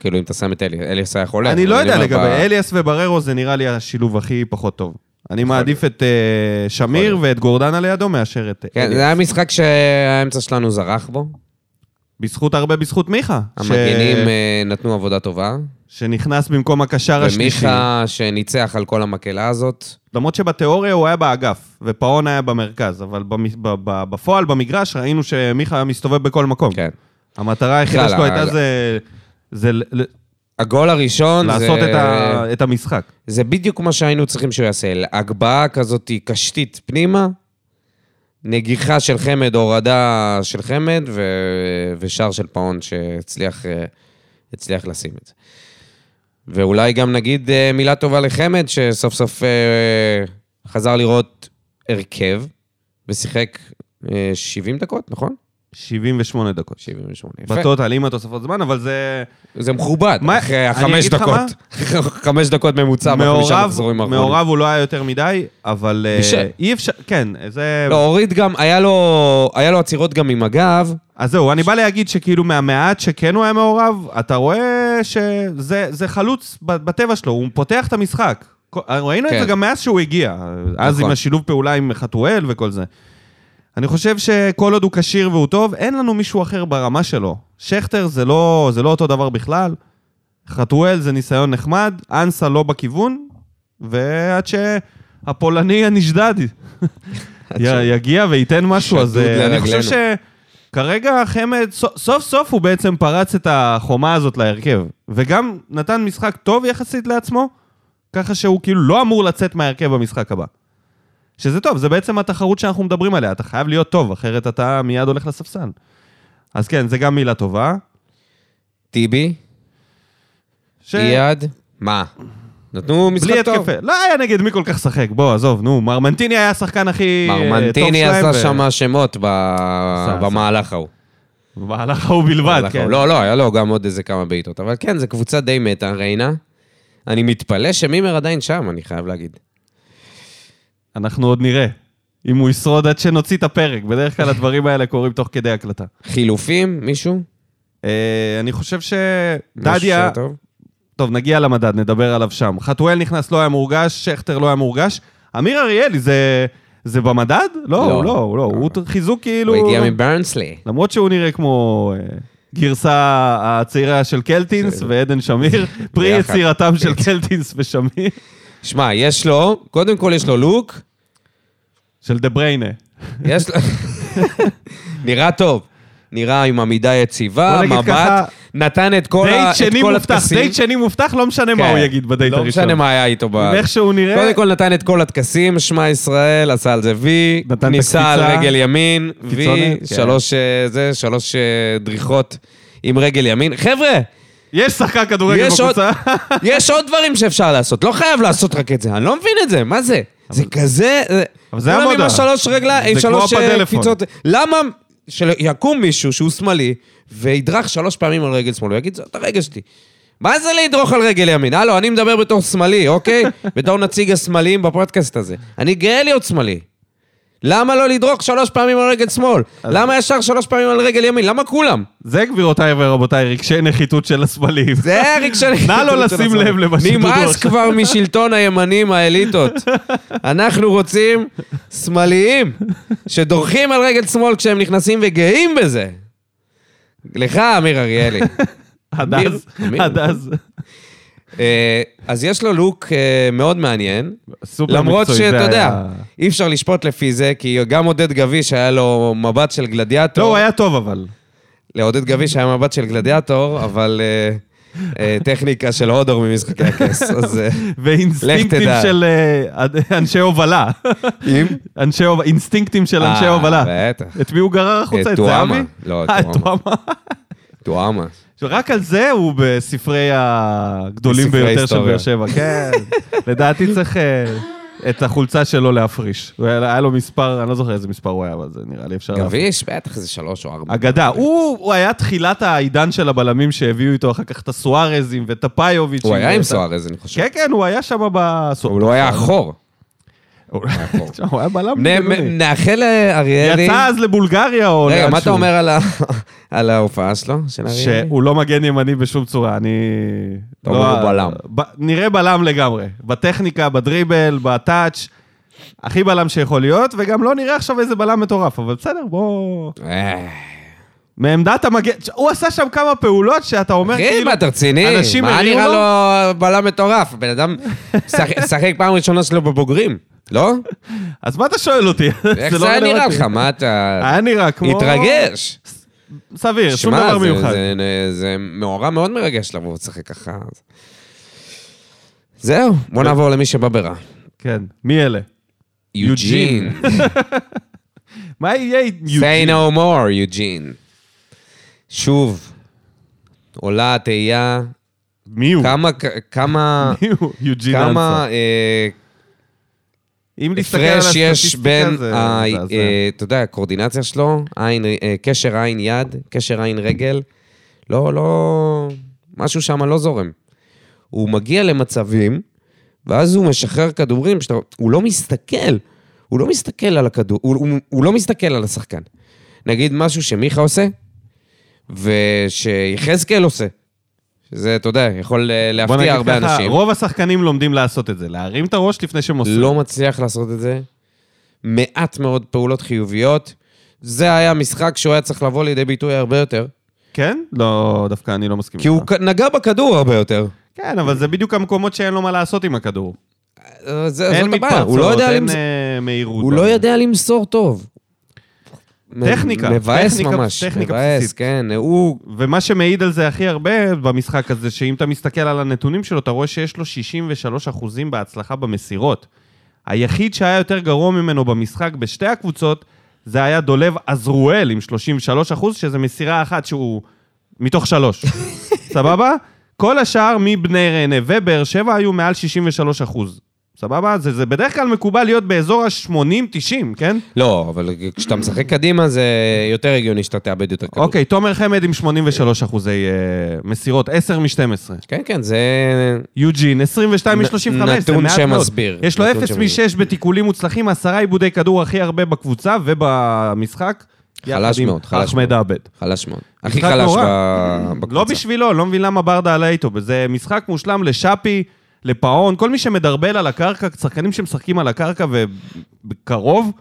S2: כאילו, אם אתה שם את אלי, אליס היה חולה.
S1: אני לא
S2: אבל
S1: יודע
S2: אומר,
S1: לגבי
S2: ב-
S1: אליאס ובררו, זה נראה לי השילוב הכי פחות טוב. אני מעדיף את אה, שמיר
S2: להיות.
S1: ואת גורדנה לידו מאשר את
S2: כן,
S1: אליאס.
S2: זה היה משחק שהאמצע שלנו זרח בו.
S1: בזכות הרבה בזכות מיכה. ש-
S2: המגנים אה, נתנו עבודה טובה.
S1: שנכנס במקום הקשר השלישי.
S2: ומיכה שניצח על כל המקהלה הזאת.
S1: למרות שבתיאוריה הוא היה באגף, ופאון היה במרכז, אבל במ- ב- ב- בפועל, במגרש, ראינו שמיכה היה מסתובב בכל מקום.
S2: כן.
S1: המטרה היחידה
S2: בכלל,
S1: שלו
S2: ה-
S1: הייתה זה... זה ל- ל-
S2: הגול הראשון
S1: לעשות
S2: זה...
S1: את ה- את המשחק.
S2: זה בדיוק מה שהיינו צריכים שהוא יעשה. הגבהה כזאת קשתית פנימה, נגיחה של חמד, הורדה של חמד, ו... ושער של פאון שהצליח אה, הצליח לשים את זה. ואולי גם נגיד אה, מילה טובה לחמד, שסוף סוף אה, חזר לראות הרכב, ושיחק אה, 70 דקות, נכון?
S1: 78 דקות.
S2: 78. יפה.
S1: בטוטל, עם התוספות זמן, אבל זה
S2: זה מכובד,
S1: מה-
S2: אחרי
S1: אני
S2: החמש
S1: אגיד לך
S2: דקות. חמש דקות ממוצע בחמישה
S1: מעורב,
S2: מחזורים האחרונים.
S1: מעורב הוא לא היה יותר מדי, אבל אה,
S2: בישל.
S1: אי אפשר, כן, זה...
S2: לא, הוריד גם, היה לו, היה לו עצירות גם עם הגב.
S1: אז זהו, אני בא להגיד שכאילו מהמעט שכן הוא היה מעורב, אתה רואה שזה זה חלוץ ב- בטבע שלו, הוא פותח את המשחק. כל- ראינו את
S2: כן.
S1: זה גם מאז שהוא הגיע, אז
S2: נכון.
S1: עם השילוב פעולה עם חתואל וכל זה. אני חושב שכל עוד הוא כשיר והוא טוב, אין לנו מישהו אחר ברמה שלו. שכטר זה לא, זה לא אותו דבר בכלל, חתואל זה ניסיון נחמד, אנסה לא בכיוון, ועד שהפולני הנשדד י- יגיע וייתן משהו, אז
S2: שדוד
S1: אה, אני
S2: לרגלינו.
S1: חושב שכרגע חמד, סו- סוף סוף הוא בעצם פרץ את החומה הזאת להרכב, וגם נתן משחק טוב יחסית לעצמו, ככה שהוא כאילו לא אמור לצאת מההרכב במשחק הבא. שזה טוב, זה בעצם התחרות שאנחנו מדברים עליה, אתה חייב להיות טוב, אחרת אתה מיד הולך לספסל. אז כן, זה גם מילה טובה.
S2: טיבי,
S1: ש-
S2: אייד, מה? נתנו משחק
S1: כן. בלי
S2: טוב.
S1: התקפה. לא היה נגד מי כל כך שחק, בוא, עזוב, נו. מרמנטיני היה השחקן הכי... אה,
S2: מרמנטיני
S1: טוב שלהם,
S2: עשה
S1: ו-
S2: שם שמות ב-
S1: עשה, עשה.
S2: במהלך ההוא.
S1: במהלך ההוא בלבד,
S2: במהלך
S1: כן.
S2: ההוא. לא, לא, היה לו גם עוד איזה כמה בעיטות. אבל כן, זו קבוצה די מתה, ריינה. אני מתפלא שמימר עדיין שם, אני חייב להגיד.
S1: אנחנו עוד נראה. אם הוא ישרוד עד שנוציא את הפרק, בדרך כלל הדברים האלה קורים תוך כדי הקלטה.
S2: חילופים, מישהו?
S1: אה, אני חושב
S2: משהו
S1: שדדיה...
S2: שהיה טוב?
S1: טוב, נגיע למדד, נדבר עליו שם. חתואל נכנס, לא היה מורגש, שכטר לא היה מורגש. אמיר אריאלי, זה... זה במדד? לא,
S2: לא.
S1: הוא לא, הוא לא.
S2: לא.
S1: הוא חיזוק כאילו...
S2: הוא הגיע מברנסלי.
S1: למרות שהוא נראה כמו אה, גרסה הצעירה של קלטינס ועדן שמיר, פרי
S2: ביחד.
S1: יצירתם של קלטינס ושמיר,
S2: שמע, יש לו, קודם כל יש לו לוק,
S1: של דה בריינה.
S2: יש לו... נראה טוב. נראה עם עמידה יציבה,
S1: בוא נגיד ככה,
S2: מבט, נתן את כל ה-
S1: דייט
S2: את
S1: שני
S2: כל
S1: מובטח,
S2: הטקסים.
S1: דייט שני מובטח, לא משנה מה
S2: כן.
S1: הוא יגיד בדייט
S2: לא
S1: הראשון.
S2: משנה מה היה איתו ב...
S1: עם איך שהוא נראה,
S2: קודם כל נתן את כל הטקסים, שמע ישראל, עשה על זה וי,
S1: נתן את
S2: כניסה על
S1: הקפיצה.
S2: רגל ימין, וי,
S1: קיצוני, כן.
S2: שלוש אה, זה, שלוש אה, דריכות עם רגל ימין. חבר'ה,
S1: יש שחקן כדורגל
S2: יש עוד-
S1: בקבוצה.
S2: יש עוד דברים שאפשר לעשות, לא חייב לעשות רק את זה, אני לא מבין את זה, מה זה? זה כזה...
S1: אבל זה
S2: כולם עם
S1: עבודה.
S2: השלוש רגליים, עם
S1: זה כמו
S2: שלוש אה,
S1: הפלאפון.
S2: קפיצות... למה שיקום מישהו שהוא שמאלי וידרך שלוש פעמים על רגל שמאל, הוא יגיד, זאת הרגל שלי. מה זה לדרוך על רגל ימין? הלו, אני מדבר בתור שמאלי, אוקיי? בתור נציג השמאליים בפודקאסט הזה. אני גאה להיות שמאלי. למה לא לדרוך שלוש פעמים על רגל שמאל? למה ישר שלוש פעמים על רגל ימין? למה כולם?
S1: זה גבירותיי ורבותיי, רגשי נחיתות של השמאלים.
S2: זה הרגשי...
S1: נא לא לשים לב למה שדודו
S2: נמאס
S1: עכשיו-
S2: כבר משלטון הימנים האליטות. אנחנו רוצים שמאליים, שדורכים על רגל שמאל כשהם נכנסים וגאים בזה. לך, אמיר אריאלי.
S1: עד
S2: אמיר,
S1: אז,
S2: אמיר.
S1: עד אז.
S2: אה, אז יש לו לוק אה, מאוד מעניין.
S1: סופר
S2: למרות
S1: מקצועי, זה
S2: שאתה יודע,
S1: היה- לא,
S2: אי אפשר לשפוט לפי זה, כי גם עודד גביש היה לו מבט של גלדיאטור.
S1: לא, הוא היה טוב אבל.
S2: לעודד גביש היה מבט של גלדיאטור, אבל אה, אה, טכניקה של הודור ממשחקי הכס. אז אה,
S1: ואינסטינקטים
S2: תדע.
S1: של אה, אד- אנשי הובלה. אנשי הוב- אינסטינקטים של אנשי
S2: אה,
S1: הובלה.
S2: בטח.
S1: את מי הוא גרר החוצה? את
S2: טועמה.
S1: זהבי?
S2: לא,
S1: אה, את
S2: טועמה.
S1: טועמה.
S2: טועמה.
S1: רק על זה הוא בספרי הגדולים
S2: בספרי
S1: ביותר של
S2: ההיסטוריה.
S1: באר שבע, כן. לדעתי צריך אה, את החולצה שלו להפריש. הוא היה היה לו מספר, אני לא זוכר איזה מספר הוא היה, אבל זה נראה לי אפשר... להפריש.
S2: גביש, בטח זה שלוש או ארבע.
S1: אגדה. הוא הוא היה תחילת העידן של הבלמים שהביאו איתו אחר כך את הסוארזים ואת הפיוביץ'.
S2: הוא היה עם
S1: ואת ה-
S2: סוארז, אני חושב.
S1: כן, כן, הוא היה שם ב...
S2: הוא לא היה אחור.
S1: הוא-
S2: היה פה.
S1: תשמע, הוא היה בלם.
S2: נ-
S1: בינוני.
S2: מ- נאחל לאריאלי...
S1: יצא אז לבולגריה או...
S2: רגע,
S1: לאן
S2: מה אתה
S1: שהוא.
S2: אומר על ה- על ההופעה שלו? של אריאלי?
S1: שהוא לא מגן ימני בשום צורה, אני...
S2: אתה אומר,
S1: לא-
S2: הוא בלם.
S1: ב- נראה בלם לגמרי. בטכניקה, בדריבל, בטאץ', הכי בלם שיכול להיות, וגם לא נראה עכשיו איזה בלם מטורף, אבל בסדר, בוא...
S2: אה,
S1: מעמדת המגן... הוא עשה שם כמה פעולות שאתה אומר
S2: אחי,
S1: כאילו...
S2: מה, אתה רציני?
S1: אנשים
S2: מה
S1: הרימו
S2: נראה
S1: לו?
S2: לו בלם מטורף? בן אדם שח- שחק פעם ראשונה שלו בבוגרים, לא?
S1: אז מה אתה שואל אותי? לא
S2: איך זה היה נראה
S1: רלוונטי.
S2: לך? מה אתה...
S1: היה נראה כמו...
S2: התרגש.
S1: סביר, כן, שום
S2: שמע,
S1: דבר
S2: זה-
S1: מיוחד.
S2: זה- זה- זה מאורע מאוד מרגש לבוא לשחק ככה. אז- זהו, בוא נעבור למי שבא ברע.
S1: כן, מי אלה?
S2: יוג'ין.
S1: מה יהיה עם
S2: say
S1: יוג'ין?
S2: no more, יוג'ין. שוב, עולה התהייה,
S1: מי הוא?
S2: כמה, כמה,
S1: מי הוא? יוג'ין אנסה.
S2: כמה, אה,
S1: אם להסתכל על
S2: הפרש יש
S1: הסטטיסטיקה
S2: בין,
S1: זה...
S2: ה-
S1: מזעזע.
S2: אה, אתה יודע, הקורדינציה שלו, עין, אה, קשר עין יד, קשר עין רגל, לא, לא, משהו שם לא זורם. הוא מגיע למצבים, ואז הוא משחרר כדורים, שאתה, הוא לא מסתכל, הוא לא מסתכל על הכדור, הוא, הוא, הוא לא מסתכל על השחקן. נגיד משהו שמיכה עושה, ושיחזקאל עושה. שזה, אתה יודע, יכול אה,
S1: בוא נגיד
S2: להפתיע הרבה
S1: ככה,
S2: אנשים.
S1: רוב השחקנים לומדים לעשות את זה, להרים את הראש לפני שהם עושים.
S2: לא מצליח לעשות את זה. מעט מאוד פעולות חיוביות. זה היה משחק שהוא היה צריך לבוא לידי ביטוי הרבה יותר.
S1: כן? לא, דווקא אני לא מסכים.
S2: כי הוא
S1: איתך.
S2: כ- נגע בכדור הרבה יותר.
S1: כן, אבל זה בדיוק המקומות שאין לו מה לעשות עם הכדור.
S2: אה, זה-
S1: אין
S2: זאת הבעיה, הוא לא
S1: מתפרצות,
S2: יודע
S1: אין
S2: למס-
S1: אה, מהירות.
S2: הוא לא יודע למסור טוב.
S1: טכניקה,
S2: מבאס
S1: טכניקה-
S2: ממש,
S1: טכניקה
S2: מבאס,
S1: בסיסית.
S2: כן. הוא
S1: ומה שמעיד על זה הכי הרבה במשחק הזה, שאם אתה מסתכל על הנתונים שלו, אתה רואה שיש לו 63 אחוזים בהצלחה במסירות. היחיד שהיה יותר גרוע ממנו במשחק בשתי הקבוצות, זה היה דולב עזרואל עם 33 אחוז, שזה מסירה אחת שהוא מתוך שלוש. סבבה? כל השאר מבני ריינה ובאר שבע היו מעל 63 אחוז. סבבה? זה, זה בדרך כלל מקובל להיות באזור ה-80-90, כן?
S2: לא, אבל כשאתה משחק קדימה זה יותר הגיוני שאתה תאבד יותר כדור.
S1: אוקיי, תומר חמד עם 83 אחוזי אה, מסירות, 10 מ-12.
S2: כן, כן, זה...
S1: אה, יוג'ין, 22
S2: נ-
S1: מ-35, זה
S2: נתון
S1: מעט
S2: שמסביר.
S1: מאוד. יש לו
S2: נתון
S1: 0
S2: שמסביר.
S1: מ-6 בתיקולים מוצלחים, עשרה עיבודי כדור הכי הרבה בקבוצה ובמשחק.
S2: חלש
S1: יחד עם
S2: מאוד, חלש
S1: אחמד עבד.
S2: חלש מאוד. הכי
S1: משחק
S2: חלש
S1: נורא.
S2: ב- בקבוצה.
S1: לא בשבילו, לא מבין למה ברדה עלה איתו. זה משחק מושלם לשאפי, לפאון, כל מי שמדרבל על הקרקע, שחקנים שמשחקים על הקרקע ובקרוב.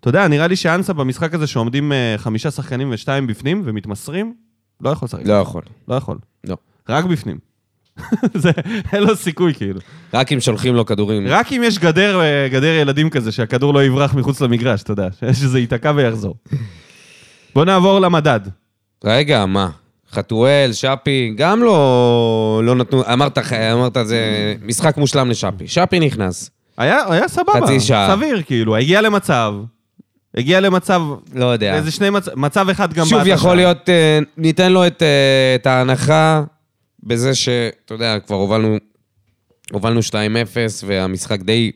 S1: אתה יודע, נראה לי שאנסה במשחק הזה שעומדים אה, חמישה שחקנים ושתיים בפנים ומתמסרים, לא יכול לשחק.
S2: לא יכול.
S1: לא יכול.
S2: לא.
S1: רק בפנים. זה, אין לו סיכוי, כאילו.
S2: רק אם שולחים לו כדורים.
S1: רק אם יש גדר, אה, גדר ילדים כזה, שהכדור לא יברח מחוץ למגרש, אתה יודע, שזה ייתקע ויחזור. בוא נעבור למדד.
S2: רגע, מה? חתואל, שפי, גם לא, לא נתנו, אמרת, אמרת, זה משחק מושלם לשפי. שפי נכנס.
S1: היה, היה סבבה,
S2: חצי שעה.
S1: סביר, כאילו, הגיע למצב, הגיע למצב,
S2: לא יודע.
S1: איזה שני מצב, מצב אחד גם...
S2: שוב,
S1: בעט
S2: יכול
S1: לשער.
S2: להיות, אה, ניתן לו את, אה, את ההנחה בזה ש, אתה יודע, כבר הובלנו, הובלנו 2-0, והמשחק די,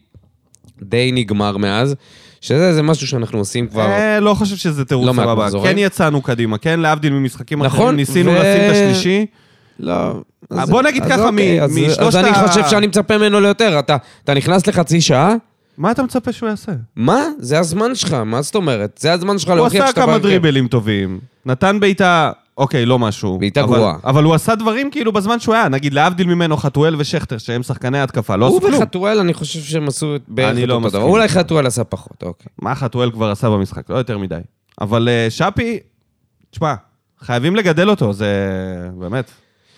S2: די נגמר מאז, שזה זה משהו שאנחנו עושים כבר...
S1: אה, לא חושב שזה תירוץ
S2: לא מעט
S1: סבבה.
S2: מחזורים.
S1: כן יצאנו קדימה, כן, להבדיל ממשחקים
S2: נכון,
S1: אחרים, ניסינו
S2: ו-
S1: לשים את השלישי.
S2: לא.
S1: אז- אה, בוא נגיד ככה, מ-
S2: אז,
S1: משלושת
S2: אז אני
S1: ה-
S2: חושב שאני מצפה ממנו ליותר. אתה, אתה נכנס לחצי שעה,
S1: מה אתה מצפה שהוא יעשה?
S2: מה? זה הזמן שלך, מה זאת אומרת? זה הזמן שלך
S1: הוא
S2: להוכיח
S1: עשה
S2: שאתה
S1: כמה
S2: בהרכב.
S1: דריבלים טובים, נתן בעיטה, אוקיי, לא משהו.
S2: בעיטה
S1: אבל-
S2: גרועה.
S1: אבל הוא עשה דברים כאילו בזמן שהוא היה, נגיד להבדיל ממנו חתואל ושכטר, שהם שחקני התקפה, לא עשו
S2: הוא
S1: כלום.
S2: וחתואל, אני חושב שהם עשו את בערך
S1: אני לא
S2: אותו דבר.
S1: מסכים.
S2: אולי חתואל עשה פחות, אוקיי.
S1: מה חתואל כבר עשה במשחק, לא יותר מדי. אבל אה, שפי, תשמע, חייבים לגדל אותו, זה באמת.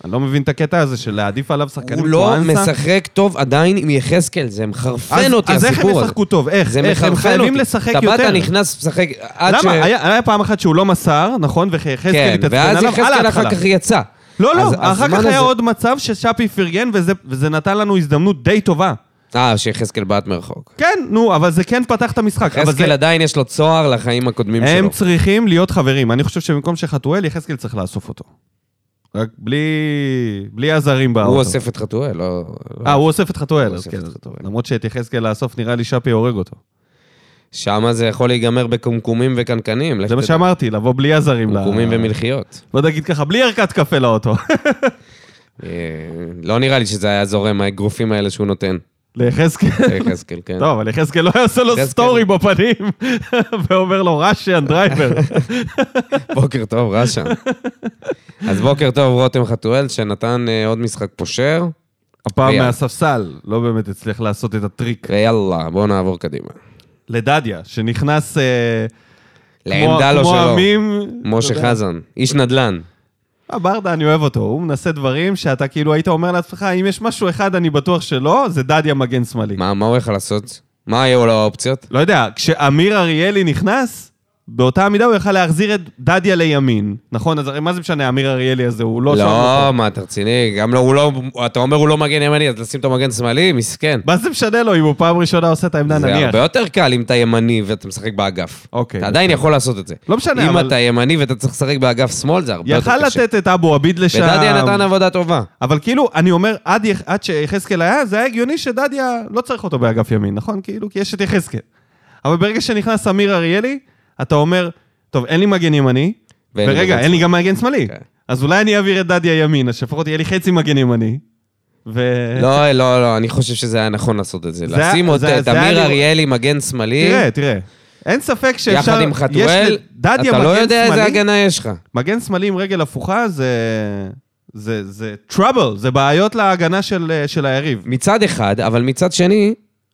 S1: אני לא מבין את הקטע הזה של להעדיף עליו שחקנים
S2: הוא
S1: כמו
S2: לא
S1: אנסה.
S2: משחק טוב עדיין עם יחזקאל, זה מחרפן
S1: אז-
S2: אותי,
S1: אז איך הם
S2: הסיפור הזה.
S1: ישחקו טוב? איך?
S2: זה
S1: איך?
S2: מחרפן
S1: הם
S2: אותי.
S1: חייבים לשחק
S2: טבעת
S1: יותר.
S2: נכנס, משחק עד ש...
S1: למה? היה היה פעם אחת שהוא לא מסר, נכון? ויחזקאל
S2: כן,
S1: התעצבן עליו,
S2: ואז
S1: על
S2: יחזקאל
S1: ההתחלה.
S2: אחר כך יצא.
S1: לא, לא,
S2: אז-
S1: אחר
S2: הזמן
S1: כך היה
S2: הזה-
S1: עוד מצב ששאפי פרגן, וזה- וזה נתן לנו הזדמנות די טובה.
S2: אה, שיחזקאל בעט מרחוק.
S1: כן, נו, אבל זה כן פתח את המשחק. אבל זה-
S2: יחזקאל עדיין יש לו צוהר לחיים הקודמים שלו.
S1: הם צריכים להיות חברים. אני חושב שבמקום שחתואל, יחזקאל צריך לאסוף אותו. רק בלי... בלי הזרים באוטו.
S2: הוא אוסף את חתואל, לא...
S1: אה, הוא אוסף את חתואל,
S2: הוא
S1: אז
S2: אוסף
S1: כן.
S2: את חתואל.
S1: למרות שאת יחזקאל לאסוף, נראה לי שפי הורג אותו.
S2: שמה זה יכול להיגמר בקומקומים וקנקנים. לך
S1: זה מה
S2: תדע.
S1: שאמרתי, לבוא בלי הזרים. ל-
S2: קומקומים ומלחיות.
S1: בוא נגיד ככה, בלי ערכת קפה לאוטו.
S2: אה, לא נראה לי שזה היה זורם, האגרופים האלה שהוא נותן.
S1: ליחזקאל.
S2: יחזקאל, כן.
S1: טוב, אבל יחזקאל לא היה עושה לו
S2: יחזקאל.
S1: סטורי בפנים, ואומר לו, ראשיאן דרייבר.
S2: בוקר טוב, רשם. אז בוקר טוב, רותם חתואל, שנתן אה, עוד משחק פושר,
S1: הפעם
S2: ויאללה.
S1: מהספסל, לא באמת הצליח לעשות את הטריק.
S2: ויאללה, בואו נעבור קדימה.
S1: לדדיה, שנכנס... אה,
S2: לעמדה
S1: כמו-
S2: לא
S1: כמו
S2: שלו.
S1: עמים. אתה
S2: משה
S1: יודע.
S2: חזן, איש נדל"ן.
S1: אה, ברדה, אני אוהב אותו. הוא מנסה דברים שאתה כאילו היית אומר לעצמך, אם יש משהו אחד אני בטוח שלא, זה דדיה מגן שמאלי.
S2: מה מה הוא יכול לעשות? מה היו לו האופציות?
S1: לא יודע, כשאמיר אריאלי נכנס, באותה המידה הוא יכל להחזיר את דדיה לימין, נכון? אז הרי מה זה משנה, אמיר אריאלי הזה, הוא לא... שם
S2: לא,
S1: אותו.
S2: מה, אתה רציני? גם לא, הוא לא... אתה אומר הוא לא מגן ימני, אז לשים אותו מגן שמאלי? מסכן.
S1: מה זה משנה לו אם הוא פעם ראשונה עושה את העמדה,
S2: זה
S1: נניח?
S2: הרבה יותר קל אם אתה ימני ואתה משחק באגף.
S1: אוקיי,
S2: אתה עדיין יכול לעשות את זה.
S1: לא משנה,
S2: אם
S1: אבל-
S2: אתה ימני ואתה צריך לשחק באגף שמאל, זה הרבה יותר
S1: יכל
S2: קשה.
S1: לתת את אבו עביד לשם.
S2: ודדיה נתן עבודה טובה.
S1: אבל כאילו, אני אומר, עד, יח- עד שיחזקאל היה, זה היה הגיוני שדדיה לא צריך אותו באגף ימין, נכון? כאילו, כי יש את יחזקאל. אבל ברגע שנכנס אמיר אריאלי, אתה אומר, טוב, אין לי מגן ימני,
S2: ואין לי
S1: ורגע,
S2: מגן
S1: אין לי גם מגן שמאלי.
S2: כן.
S1: אז אולי אני אעביר את דדיה ימין, אז שלפחות יהיה לי חצי מגן ימני. ו...
S2: לא, לא, לא, אני חושב שזה היה נכון לעשות את זה.
S1: זה היה-
S2: לשים
S1: זה היה-
S2: אותה- את
S1: זה היה
S2: אמיר
S1: לראות-
S2: אריאלי מגן שמאלי,
S1: תראה, תראה. אין ספק שאפשר...
S2: יחד עם
S1: יש
S2: חתואל,
S1: לדדיה
S2: אתה לא
S1: מגן
S2: יודע איזה
S1: שמאלי-
S2: הגנה יש לך.
S1: מגן שמאלי עם רגל הפוכה זה... זה, זה trouble, זה בעיות להגנה של, אה, של היריב.
S2: מצד אחד, אבל מצד שני...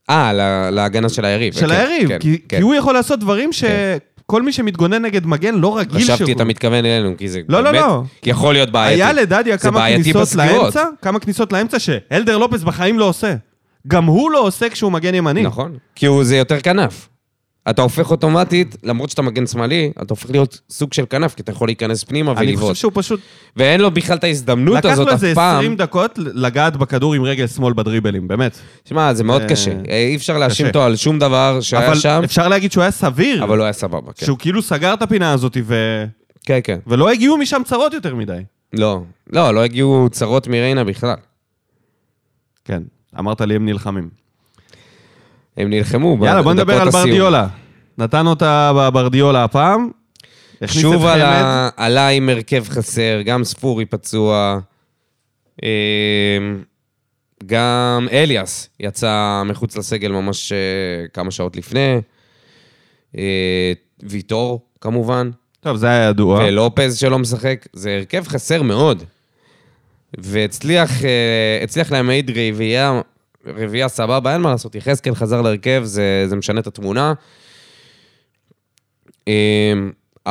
S2: אה, לה- להגנה של היריב.
S1: של
S2: כן,
S1: היריב,
S2: כן,
S1: כי,
S2: כן.
S1: כי הוא יכול לעשות דברים שכל מי שמתגונן נגד מגן לא רגיל שהוא.
S2: חשבתי, אתה מתכוון אלינו, כי זה
S1: לא, לא,
S2: באמת
S1: לא.
S2: יכול להיות בעייתי.
S1: היה לדדיה
S2: זה
S1: כמה
S2: בעייתי
S1: כניסות
S2: בסגירות.
S1: לאמצע, כמה כניסות לאמצע שאלדר לופס בחיים לא עושה. גם הוא לא עושה כשהוא מגן ימני.
S2: נכון. כי הוא- זה יותר כנף. אתה הופך אוטומטית, למרות שאתה מגן שמאלי, אתה הופך להיות סוג של כנף, כי אתה יכול להיכנס פנימה
S1: אני חושב
S2: ולבעוט.
S1: שהוא פשוט...
S2: ואין לו בכלל את ההזדמנות
S1: לקח
S2: הזאת
S1: לו
S2: אף
S1: איזה
S2: פעם.
S1: 20 דקות לגעת בכדור עם רגל שמאל בדריבלים, באמת.
S2: שמע, זה מאוד
S1: אה,
S2: קשה. אה, אי אפשר להאשים
S1: קשה.
S2: אותו על שום דבר שהיה
S1: אבל
S2: שם,
S1: אפשר להגיד שהוא היה סביר,
S2: אבל לא היה סבבה. כן.
S1: שהוא כאילו סגר את הפינה הזאת ו...
S2: כן, כן.
S1: ולא הגיעו משם צרות יותר מדי.
S2: לא. לא, לא הגיעו צרות מריינה בכלל.
S1: כן, אמרת לי הם נלחמים.
S2: הם נלחמו
S1: יאללה, בוא
S2: בדקות
S1: נדבר על
S2: הסיום.
S1: ברדיולה. נתן אותה בברדיולה הפעם. הכניס את
S2: שוב
S1: חמד.
S2: עלה, עלה עם הרכב חסר, גם ספורי פצוע, אמ, גם אליאס יצא מחוץ לסגל ממש אה, כמה שעות לפני, אה, ויטור כמובן,
S1: טוב, זה היה ידוע.
S2: ולופז שלא משחק, זה הרכב חסר מאוד. והצליח אה, הצליח להעמיד רביעייה, רביעייה סבבה, אין מה לעשות, יחזקאל חזר להרכב, זה, זה משנה את התמונה. אה,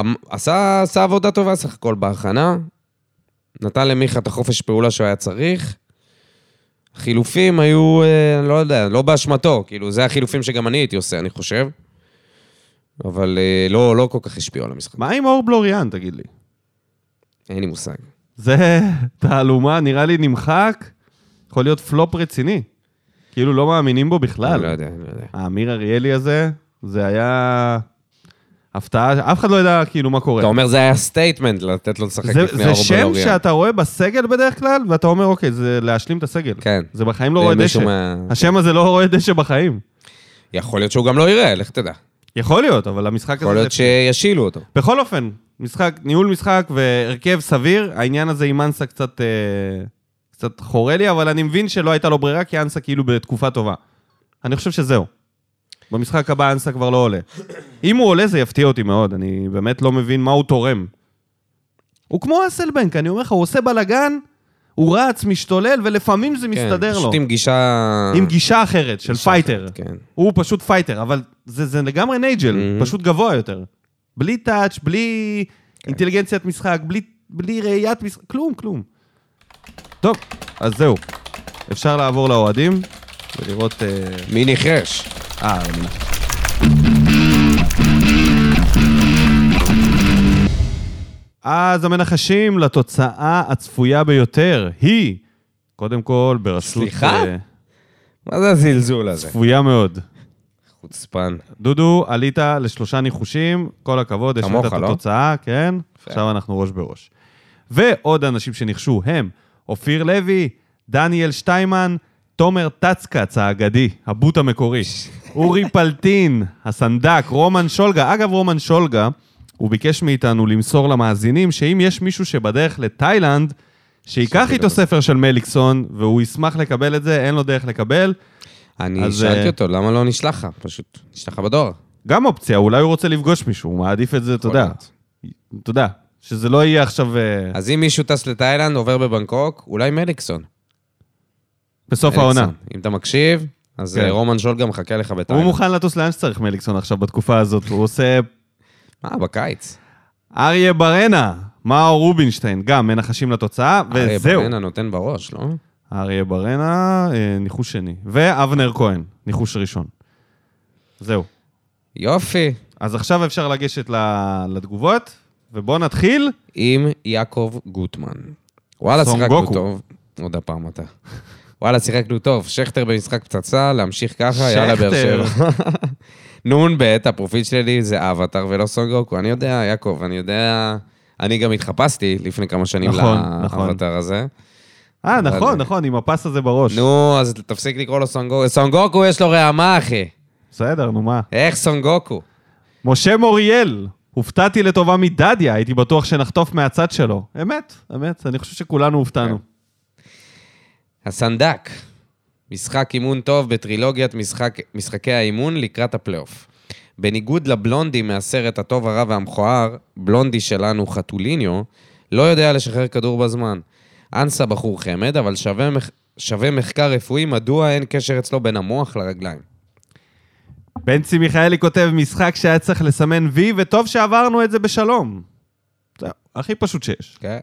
S2: אמ- עשה, עשה עבודה טובה סך הכל בהכנה, נתן למיכה את החופש פעולה שהוא היה צריך. החילופים היו, אה, לא יודע, לא באשמתו, כאילו, זה החילופים שגם אני הייתי עושה, אני חושב. אבל אה, לא, לא כל כך השפיעו על המשחק.
S1: מה עם אור בלוריאן, תגיד לי?
S2: אין לי מושג.
S1: זה תעלומה, נראה לי נמחק. יכול להיות פלופ רציני. כאילו, לא מאמינים בו
S2: אני לא
S1: בכלל.
S2: יודע, אני לא יודע.
S1: האמיר אריאלי הזה, זה היה הפתעה, אף אחד לא ידע כאילו מה קורה.
S2: אתה אומר זה היה סטייטמנט לתת לו לשחק
S1: זה,
S2: לפני
S1: זה
S2: אור
S1: שם
S2: בלוריאן.
S1: שאתה רואה בסגל בדרך כלל, ואתה אומר, אוקיי, זה להשלים את הסגל.
S2: כן.
S1: זה בחיים לא
S2: זה
S1: רואה
S2: מישהו
S1: דשא.
S2: מה-
S1: השם הזה לא רואה דשא בחיים.
S2: יכול להיות שהוא גם לא יראה, לך תדע.
S1: יכול להיות, אבל המשחק
S2: יכול
S1: הזה...
S2: להיות
S1: זה-
S2: שישילו אותו.
S1: בכל אופן, משחק, ניהול משחק והרכב סביר, העניין הזה עם אנסה קצת, אה, קצת חורה לי, אבל אני מבין שלא הייתה לו ברירה, כי אנסה כאילו בתקופה טובה. אני חושב שזהו. במשחק הבא אנסה כבר לא עולה. אם הוא עולה זה יפתיע אותי מאוד, אני באמת לא מבין מה הוא תורם. הוא כמו אסלבנק, אני אומר לך, הוא עושה בלאגן, הוא רץ, משתולל, ולפעמים זה מסתדר
S2: כן,
S1: לו.
S2: פשוט עם גישה...
S1: עם גישה אחרת, של
S2: גישה
S1: פייטר.
S2: אחרת, כן.
S1: הוא פשוט פייטר, אבל זה, זה לגמרי נייג'ל,
S2: Mhm.
S1: פשוט גבוה יותר. בלי טאץ', בלי אינטליגנציית משחק, בלי, בלי ראיית משחק, כלום, כלום. טוב, אז זהו. אפשר לעבור לאוהדים ולראות... אה,
S2: מי ניחש?
S1: אה, אני- אז המנחשים לתוצאה הצפויה ביותר היא, קודם כל, ברשות...
S2: סליחה?
S1: אה,
S2: מה זה הזלזול הזה?
S1: צפויה מאוד.
S2: חוצפן.
S1: דודו, עלית לשלושה ניחושים, כל הכבוד, יש
S2: כמוך,
S1: את
S2: לא?
S1: התוצאה, כן? עכשיו אנחנו ראש בראש. ועוד אנשים שניחשו הם אופיר לוי, דניאל שטיימן, תומר טצקץ האגדי, הבוט המקורי, אורי פלטין, הסנדק, רומן שולגה. אגב, רומן שולגה, הוא ביקש מאיתנו למסור למאזינים שאם יש מישהו שבדרך לתאילנד, שייקח איתו ספר של מליקסון, והוא ישמח לקבל את זה, אין לו דרך לקבל.
S2: אני
S1: אז,
S2: שאלתי
S1: אה,
S2: אותו, למה לא נשלח לך? פשוט נשלח לך בדואר.
S1: גם אופציה, אולי הוא רוצה לפגוש מישהו, הוא מעדיף את זה, אתה יודע.
S2: להיות.
S1: אתה יודע, שזה לא יהיה עכשיו אה,
S2: אז אם מישהו טס לתאילנד, עובר בבנקוק, אולי מליקסון.
S1: בסוף
S2: מליקסון.
S1: העונה.
S2: אם אתה מקשיב, אז
S1: כן.
S2: אה, רומן שול גם מחכה לך
S1: הוא
S2: בתאילנד.
S1: מוכן לטוס לאן שצריך מליקסון עכשיו בתקופה הזאת, הוא עושה...
S2: אה, בקיץ.
S1: אריה ברנה, מאור רובינשטיין, גם מנחשים לתוצאה,
S2: הרי
S1: וזהו.
S2: ברנה אה, נותן בראש, לא?
S1: אריה ברנה, אה, ניחוש שני. ואבנר כהן, ניחוש ראשון. זהו.
S2: יופי.
S1: אז עכשיו אפשר לגשת ל- לתגובות, ובואו נתחיל.
S2: עם יעקב גוטמן. וואלה,
S1: סון
S2: שיחקנו
S1: גוקו.
S2: טוב. עוד הפעם אתה. וואלה, שיחקנו טוב. שכטר במשחק פצצה, להמשיך ככה, יאללה, באר
S1: שכטר.
S2: שבע. נ"ב, הפרופיל שלי זה אבטר ולא סון גוקו. אני יודע, יעקב, אני יודע... אני גם התחפשתי לפני כמה שנים
S1: נכון, נכון.
S2: לאבטר הזה.
S1: אה,
S2: אבל-
S1: נכון, נכון, עם הפס הזה בראש.
S2: נו, אז תפסיק לקרוא לו סון גוקו. סון גוקו יש לו רעמה, אחי.
S1: בסדר, נו מה.
S2: איך סון גוקו?
S1: משה מוריאל, הופתעתי לטובה מדדיה, הייתי בטוח שנחטוף מהצד שלו. אמת, אמת, אני חושב שכולנו הופתענו.
S2: הסנדק, משחק אימון טוב בטרילוגיית משחק, משחקי האימון לקראת הפלייאוף. בניגוד לבלונדי מהסרט הטוב, הרע והמכוער, בלונדי שלנו, חתוליניו, לא יודע לשחרר כדור בזמן. אנסה בחור חמד, אבל שווה, מח... שווה מחקר רפואי מדוע אין קשר אצלו בין המוח לרגליים.
S1: בנצי מיכאלי כותב, משחק שהיה צריך לסמן וי, וטוב שעברנו את זה בשלום. זהו, הכי פשוט שיש.
S2: כן?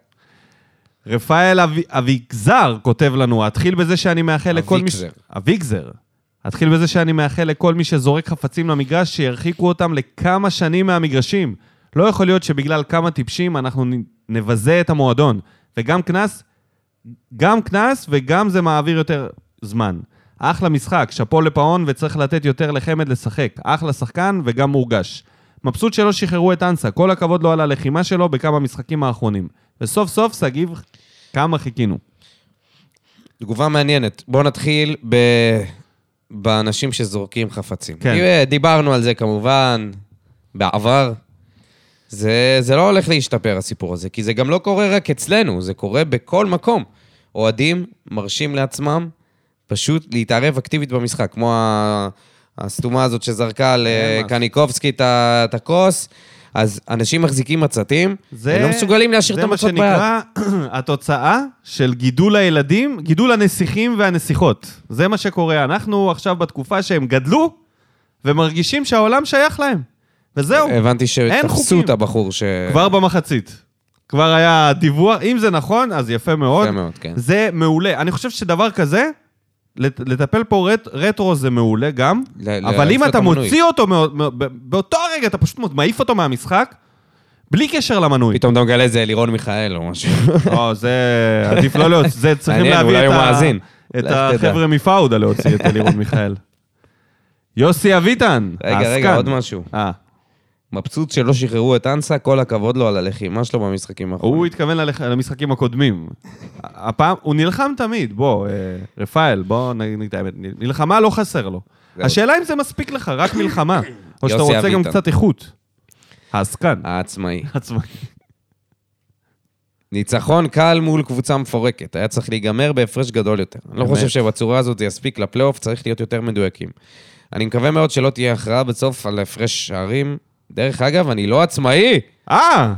S1: רפאל אבי- אביגזר כותב לנו, אתחיל בזה שאני מאחל לכל מי...
S2: אביגזר.
S1: אביגזר. אתחיל בזה שאני מאחל לכל מי שזורק חפצים למגרש, שירחיקו אותם לכמה שנים מהמגרשים. לא יכול להיות שבגלל כמה טיפשים אנחנו נ- נבזה את המועדון. וגם קנס, גם קנס וגם זה מעביר יותר זמן. אחלה משחק, שאפו לפאון וצריך לתת יותר לחמד לשחק. אחלה שחקן וגם מורגש. מבסוט שלא שחררו את אנסה, כל הכבוד לו על הלחימה שלו בכמה משחקים האחרונים. וסוף סוף, שגיב, כמה חיכינו.
S2: תגובה מעניינת. בואו נתחיל ב... באנשים שזורקים חפצים.
S1: כן.
S2: תראה, דיברנו על זה כמובן בעבר. זה, זה לא הולך להשתפר, הסיפור הזה, כי זה גם לא קורה רק אצלנו, זה קורה בכל מקום. אוהדים מרשים לעצמם פשוט להתערב אקטיבית במשחק, כמו ה- הסתומה הזאת שזרקה
S1: כן,
S2: לקניקובסקי את ה- את הכוס, אז אנשים מחזיקים מצתים,
S1: זה-
S2: הם לא מסוגלים להשאיר את המצות ביד.
S1: זה מה שנקרא התוצאה של גידול הילדים, גידול הנסיכים והנסיכות. זה מה שקורה. אנחנו עכשיו בתקופה שהם גדלו, ומרגישים שהעולם שייך להם. וזהו,
S2: הבנתי שתפסו
S1: חוקים.
S2: את הבחור ש...
S1: כבר במחצית. כבר היה דיווח, אם זה נכון, אז יפה מאוד.
S2: יפה מאוד, כן.
S1: זה מעולה. אני חושב שדבר כזה, לט- לטפל פה רט, רטרו זה מעולה גם,
S2: ל-
S1: אבל
S2: להעיף
S1: אם
S2: לו את
S1: אתה
S2: המנוי.
S1: מוציא אותו, מאו- מאו- ב- באותו הרגע אתה פשוט מעיף אותו מהמשחק, בלי קשר למנוי.
S2: פתאום אתה מגלה איזה לירון מיכאל או משהו.
S1: לא, זה עדיף לא להוציא, זה צריכים
S2: מעניין,
S1: להביא
S2: אולי
S1: את,
S2: הוא
S1: ה-
S2: מאזין.
S1: את
S2: לך תדע.
S1: החבר'ה מפאודה להוציא את אלירון מיכאל. יוסי אביטן,
S2: רגע, רגע,
S1: העסקן.
S2: עוד משהו.
S1: אה,
S2: מבסוט שלא שחררו את אנסה, כל הכבוד לו על הלחימה שלו במשחקים האחרונים.
S1: הוא התכוון ללכ- למשחקים הקודמים. הפעם, הוא נלחם תמיד, בוא, אה, רפאל, בוא נגיד את האמת, מלחמה לא חסר לו.
S2: זהו.
S1: השאלה אם זה מספיק לך, רק מלחמה, או שאתה
S2: יוסי
S1: רוצה גם
S2: אביטן.
S1: קצת איכות. העסקן.
S2: העצמאי.
S1: עצמאי.
S2: ניצחון קל מול קבוצה מפורקת, היה צריך להיגמר בהפרש גדול יותר. אני לא
S1: באמת?
S2: חושב שבצורה הזאת זה יספיק לפלייאוף, צריך להיות יותר מדויקים. אני מקווה מאוד שלא תהיה הכרעה בסוף על הפרש שערים. דרך אגב, אני לא עצמאי!
S1: אה,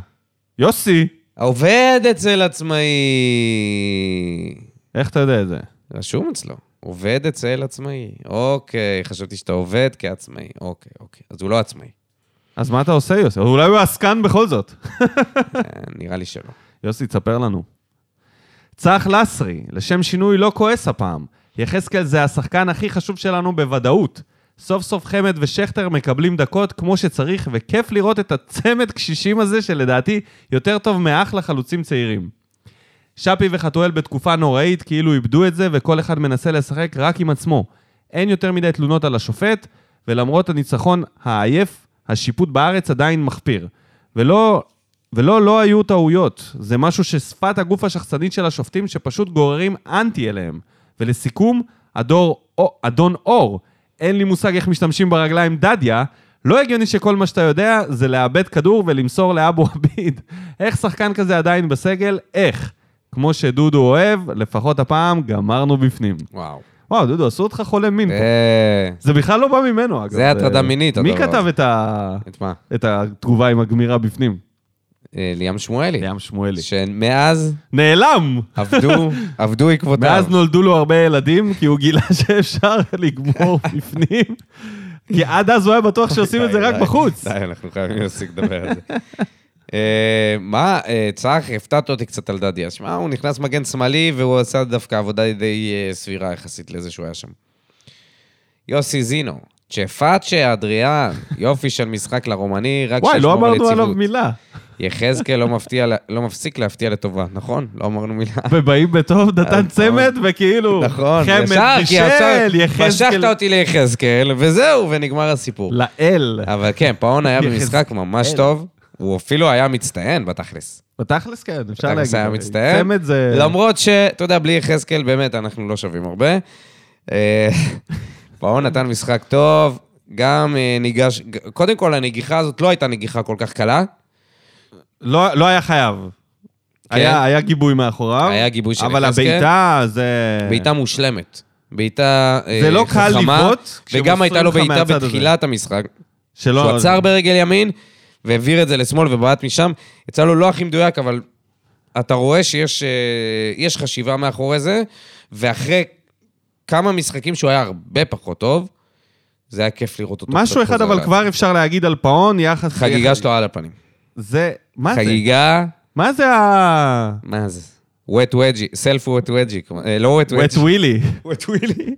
S1: יוסי,
S2: עובד אצל עצמאי!
S1: איך אתה יודע את זה?
S2: רשום אצלו. עובד אצל עצמאי. אוקיי, חשבתי שאתה עובד כעצמאי. אוקיי, אוקיי. אז הוא לא עצמאי.
S1: אז מה אתה עושה, יוסי? אולי הוא עסקן בכל זאת.
S2: אה, נראה לי שלא.
S1: יוסי, תספר לנו. צח לסרי, לשם שינוי לא כועס הפעם. יחזקאל זה השחקן הכי חשוב שלנו בוודאות. סוף סוף חמד ושכטר מקבלים דקות כמו שצריך, וכיף לראות את הצמד קשישים הזה, שלדעתי יותר טוב מאחלה חלוצים צעירים. שפי וחתואל בתקופה נוראית, כאילו איבדו את זה, וכל אחד מנסה לשחק רק עם עצמו. אין יותר מדי תלונות על השופט, ולמרות הניצחון העייף, השיפוט בארץ עדיין מחפיר. ולא, ולא, לא היו טעויות. זה משהו ששפת הגוף השחצנית של השופטים, שפשוט גוררים אנטי אליהם. ולסיכום, הדור, או, אדון אור, אין לי מושג איך משתמשים ברגליים דדיה, לא הגיוני שכל מה שאתה יודע זה לאבד כדור ולמסור לאבו עביד. איך שחקן כזה עדיין בסגל? איך? כמו שדודו אוהב, לפחות הפעם גמרנו בפנים.
S2: וואו.
S1: וואו, דודו, עשו אותך חולה מין פה.
S2: אה,
S1: זה בכלל לא בא ממנו, אגב.
S2: זה הטרדה מינית,
S1: מי
S2: הדבר
S1: כתב
S2: הזה.
S1: את ה-
S2: את מה?
S1: את התגובה עם הגמירה בפנים?
S2: אה, ליאם שמואלי.
S1: ליאם שמואלי.
S2: שמאז
S1: נעלם!
S2: עבדו, עבדו עקבותיו.
S1: מאז נולדו לו הרבה ילדים, כי הוא גילה שאפשר לגמור בפנים. כי עד אז הוא היה בטוח שעושים את זה
S2: די,
S1: רק
S2: די,
S1: בחוץ.
S2: די, אנחנו חייבים להפסיק לדבר על זה. אה, מה, אה, צח, הפתעת אותי קצת על דדיה. שמע, הוא נכנס מגן שמאלי והוא עשה דווקא עבודה די אה, סבירה יחסית לזה שהוא היה שם. יוסי זינו, צ'פאצ'ה, אדריאן, יופי של משחק לרומני, רק
S1: וואי, לא
S2: שישמור על
S1: אמרנו עליו
S2: יציבות.
S1: מילה.
S2: יחזקאל לא מפתיע ל- לא מפסיק להפתיע לטובה, נכון? לא אמרנו מילה.
S1: ובאים בטוב, נתן
S2: נכון.
S1: צמד, וכאילו...
S2: נכון,
S1: חמד,
S2: כי ישר
S1: בישל, יחזקאל...
S2: משכת אותי ליחזקאל, וזהו, ונגמר הסיפור.
S1: לאל.
S2: אבל כן, פאון היה
S1: יחזקאל.
S2: במשחק ממש טוב, הוא אפילו היה מצטיין בתכלס.
S1: בתכלס כן, אפשר להגיד.
S2: בתכלס היה מצטיין. לא-
S1: צמד זה...
S2: למרות ש, אתה יודע, בלי יחזקאל באמת אנחנו לא שווים הרבה. אה, פאון נתן משחק טוב, גם אה, ניגש, ג- קודם כל הנגיחה הזאת לא הייתה נגיחה כל כך קלה.
S1: כן. לא לא היה חייב. היה היה גיבוי מאחוריו.
S2: כן. היה גיבוי של
S1: אבל
S2: יחזקאל.
S1: הבעיטה זה...
S2: בעיטה מושלמת. בעיטה אה,
S1: זה לא קל
S2: חכמה,
S1: לבעוט
S2: וגם
S1: כשמוסרים
S2: הייתה לו
S1: לך
S2: בעיטה
S1: מהצד הזה.
S2: בתחילת המשחק.
S1: שלא-
S2: שהוא עצר ברגל ימין, והעביר את זה לשמאל ובעט משם. יצא לו לא הכי מדויק, אבל אתה רואה שיש אה, יש חשיבה מאחורי זה, ואחרי כמה משחקים שהוא היה הרבה פחות טוב, זה היה כיף לראות אותו.
S1: משהו
S2: קצת
S1: אחד
S2: חוזר
S1: אבל
S2: לה-
S1: כבר אפשר להגיד על פאון, יחס...
S2: חגיגה שלו על הפנים.
S1: זה... מה זה?
S2: חגיגה,
S1: מה זה ה...
S2: מה זה? wet wedgie, self wet wedgie, כלומר, אה, לא wet
S1: וט
S2: wedgie.
S1: ווילי.
S2: wet willy,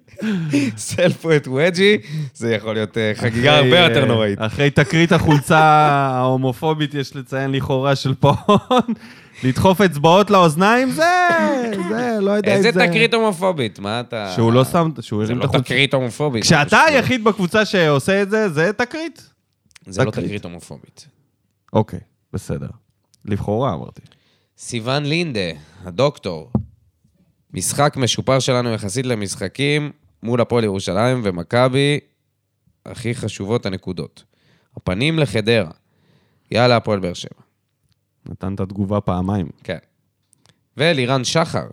S2: self wet wedgie, זה יכול להיות אה, חגיגה הרבה
S1: אחרי,
S2: יותר
S1: אה,
S2: נוראית.
S1: אחרי תקרית החולצה ההומופובית, יש לציין לכאורה, של פאון, לדחוף אצבעות לאוזניים, זה... זה, לא יודע אם זה...
S2: איזה תקרית הומופובית, מה אתה...
S1: שהוא לא שם, שהוא
S2: זה
S1: הרים את
S2: לא
S1: החולצה.
S2: תקרית הומופובית. לא
S1: כשאתה
S2: פשוט.
S1: היחיד בקבוצה שעושה את זה, זה תקרית.
S2: זה לא
S1: תקרית.
S2: תקרית הומופובית.
S1: אוקיי, בסדר. לכאורה אמרתי.
S2: סיוון לינדה, הדוקטור, משחק משופר שלנו יחסית למשחקים מול הפועל ירושלים ומכבי, הכי חשובות הנקודות. הפנים לחדרה. יאללה, הפועל באר שבע.
S1: נתן את התגובה פעמיים.
S2: כן. ולירן שחר.